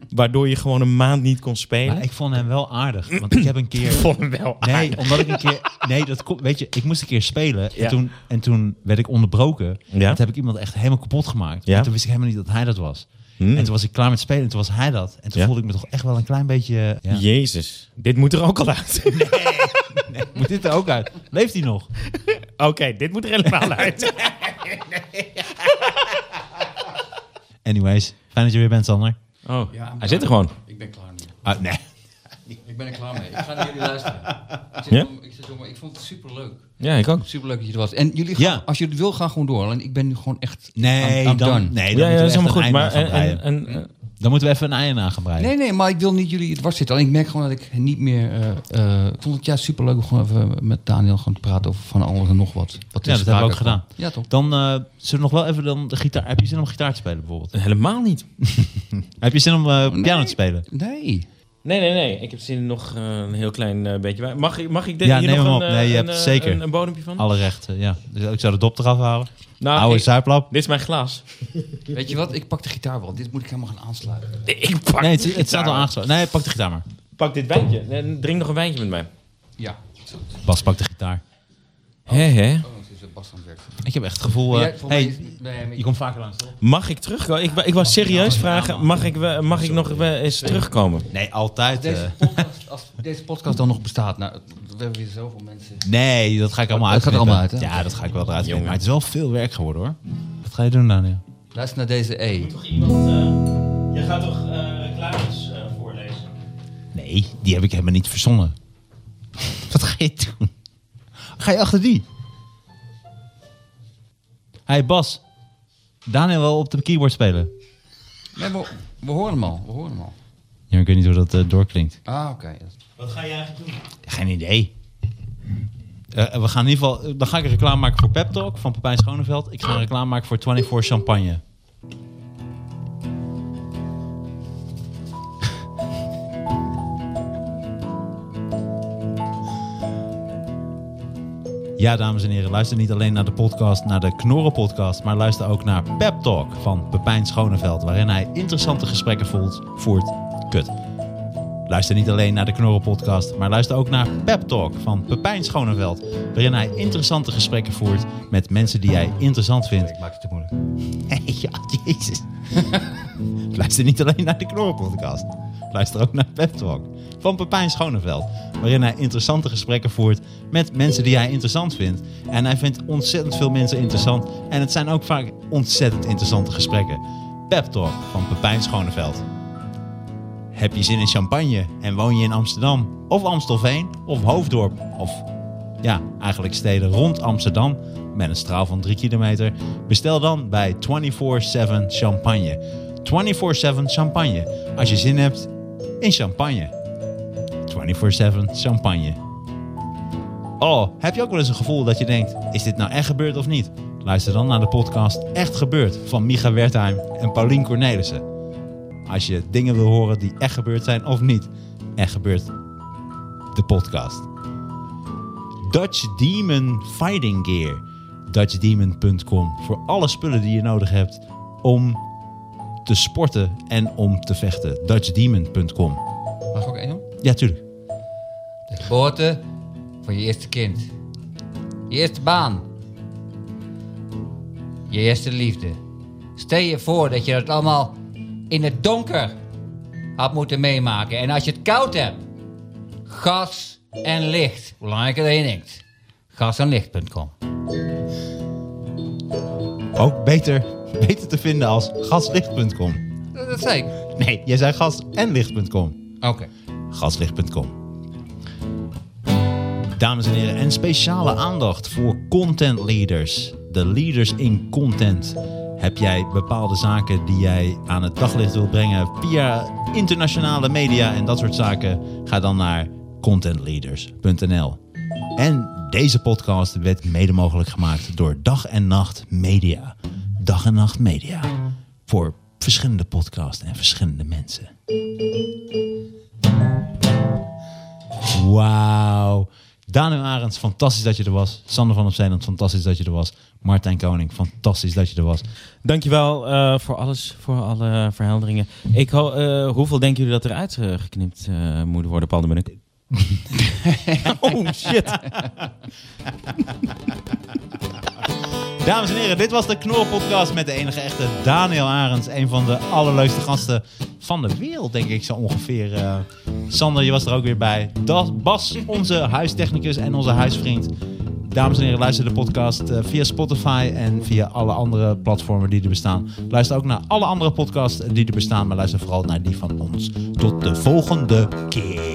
waardoor je gewoon een maand niet kon spelen.
Maar ik vond hem wel aardig, want ik heb een
<clears throat>
keer... vond hem wel aardig. Nee, omdat ik een keer... Nee, dat komt... Weet je, ik moest een keer spelen
Ja.
en, toen, en toen werd ik onderbroken.
Ja.
Dat heb ik iemand echt helemaal kapot gemaakt.
Ja.
En toen wist ik helemaal niet dat hij dat was.
Hmm.
En toen was ik klaar met spelen en toen was hij dat. En toen
Ja.
voelde ik me toch echt wel een klein beetje... eh, Ja.
Jezus, dit moet er ook al uit. <laughs>
Moet dit er ook uit? Leeft hij nog?
Oké, dit moet er helemaal uit.
Anyways, fijn dat je weer bent, Sander.
Oh, hij zit er gewoon.
<laughs> Ik ben klaar nu.
Ah, nee.
Ik ben er klaar mee. Ik ga naar jullie luisteren.
zit Ja? om-
ik, vond het superleuk.
Ja, ik ook.
Superleuk dat je er was. En jullie,
Ja.
gaan, als jullie het wil, gaan gewoon door. Alleen ik ben nu gewoon echt...
Nee,
I'm- I'm
dan,
done.
nee, dan
ja, ja,
moeten
dat is
we echt een
helemaal goed.
einde
Maar
gaan breien.
en, en, en-
Dan moeten we even een einde aan gaan breien.
Nee, nee, maar ik wil niet jullie het dwars zitten. Alleen ik merk gewoon dat ik niet meer... eh, eh, ik vond het juist superleuk om gewoon even met Daniel gewoon te praten over van alles en nog wat. wat
Ja,
is
dat hebben we ook
sprake
gedaan.
kwam. Ja, toch?
Dan eh, zullen we nog wel even dan de gitaar. Heb je zin om gitaar te spelen bijvoorbeeld?
helemaal niet.
Heb je zin om eh, piano te spelen?
Nee.
Nee, nee, nee. Ik heb zin in nog eh, een heel klein eh, beetje. bij. Mag, ik- mag ik dit
Ja,
hier
neem
nog
hem
een,
op.
eh,
Nee, je
een,
hebt
eh,
zeker.
een, een bodempje van?
Alle rechten, ja. Dus ik zou de dop eraf halen.
nou,
Oude
ik-
zuiplap.
dit is mijn glas.
Weet je wat? Ik pak de gitaar wel. Dit moet ik helemaal gaan aansluiten.
Ik pak,
Nee,
die
het, het staat al
gitaar.
aangesloten. Nee, pak de gitaar maar.
pak dit wijntje. En drink nog een wijntje met mij.
Ja.
Bas, pak de gitaar.
Hé, hé.
Oh, het is Bas aan het werk.
Ik heb echt het gevoel... eh, hey, je komt vaker langs, toch?
Mag ik terugkomen? Ik, wa- ik was serieus vragen. Mag ik, we- mag ik nog we- eens terugkomen?
Nee, altijd. eh.
Deze podcast, als deze podcast dan nog bestaat, nou, we hebben weer zoveel mensen.
nee, Oh, dat ga ik allemaal
Dat
uit.
gaat er allemaal uit, hè?
Ja, dat ga ik wel eruit. knippen. Maar het is wel veel werk geworden, hoor. Wat ga je doen, Daniel?
Luister naar deze E.
eh, Jij gaat toch eh, reclames voorlezen?
Nee, die heb ik helemaal niet verzonnen. Wat ga je doen? Ga je achter die? hey Bas, Daniel wil op de keyboard spelen.
Nee, we, we horen hem al. We horen hem al.
Ja, maar ik weet niet hoe dat eh, doorklinkt.
Ah, oké.
Wat ga je eigenlijk doen?
Geen idee. Eh, we gaan in ieder geval, dan ga ik een reclame maken voor Pep Talk van Pepijn Schoneveld. Ik ga een reclame maken voor 24 Champagne. Ja, dames en heren, luister niet alleen naar de podcast, naar de Knorren podcast, maar luister ook naar Pep Talk van Pepijn Schoneveld, waarin hij interessante gesprekken voelt, voert. Kut. Luister niet alleen naar de Knorren podcast, maar luister ook naar Pep Talk van Pepijn Schoneveld, waarin hij interessante gesprekken voert met mensen die hij interessant vindt.
Ik maak het te moeilijk.
<laughs> ja, jezus. luister niet alleen naar de Knorren podcast, luister ook naar Pep Talk van Pepijn Schoneveld, waarin hij interessante gesprekken voert met mensen die hij interessant vindt. En hij vindt ontzettend veel mensen interessant en het zijn ook vaak ontzettend interessante gesprekken. Pep Talk van Pepijn Schoneveld. Heb je zin in champagne en woon je in Amsterdam of Amstelveen of Hoofddorp of ja, eigenlijk steden rond Amsterdam met een straal van 3 kilometer. Bestel dan bij 24-7 Champagne. 24-7 Champagne. Als je zin hebt in champagne. 24-7 Champagne. Oh, heb je ook wel eens een gevoel dat je denkt: is dit nou echt gebeurd of niet? Luister dan naar de podcast Echt Gebeurd van Micha Wertheim en Paulien Cornelissen. Als je dingen wil horen die echt gebeurd zijn of niet, echt gebeurd de podcast. Dutch Demon Fighting Gear. DutchDemon.com voor alle spullen die je nodig hebt om te sporten en om te vechten. DutchDemon.com.
Mag ook Engel?
Ja, tuurlijk.
De geboorte van je eerste kind. Je eerste baan. Je eerste liefde. Stel je voor dat je dat allemaal in het donker had moeten meemaken. En als je het koud hebt, gas en licht. Hoe belangrijker dat je denkt. Gasenlicht.com.
Ook beter, beter te vinden als gaslicht.com.
Dat, dat zei ik.
Nee, jij zei gas en licht.com.
Oké.
Gaslicht.com. Dames en heren, en speciale aandacht voor content leaders. De leaders in content. Heb jij bepaalde zaken die jij aan het daglicht wilt brengen via internationale media en dat soort zaken? Ga dan naar contentleaders.nl. En deze podcast werd mede mogelijk gemaakt door Dag en Nacht Media. Dag en Nacht Media. Voor verschillende podcasts en verschillende mensen. Wauw. Daniel Arends, fantastisch dat je er was. Sander van Opzijland, fantastisch dat je er was. Martijn Koning, fantastisch dat je er was.
Dankjewel eh voor alles, voor alle verhelderingen. Ik ho- eh, hoeveel denken jullie dat eruit eh, geknipt eh, moet worden, Paul de Munnik? oh shit.
Dames en heren, dit was de Knor Podcast met de enige echte Daniel Arends. Een van de allerleukste gasten van de wereld, denk ik zo ongeveer. eh. Sander, je was er ook weer bij. Dat Bas, onze huistechnicus en onze huisvriend. Dames en heren, luister de podcast eh, via Spotify en via alle andere platformen die er bestaan. Luister ook naar alle andere podcasts die er bestaan, maar luister vooral naar die van ons. Tot de volgende keer.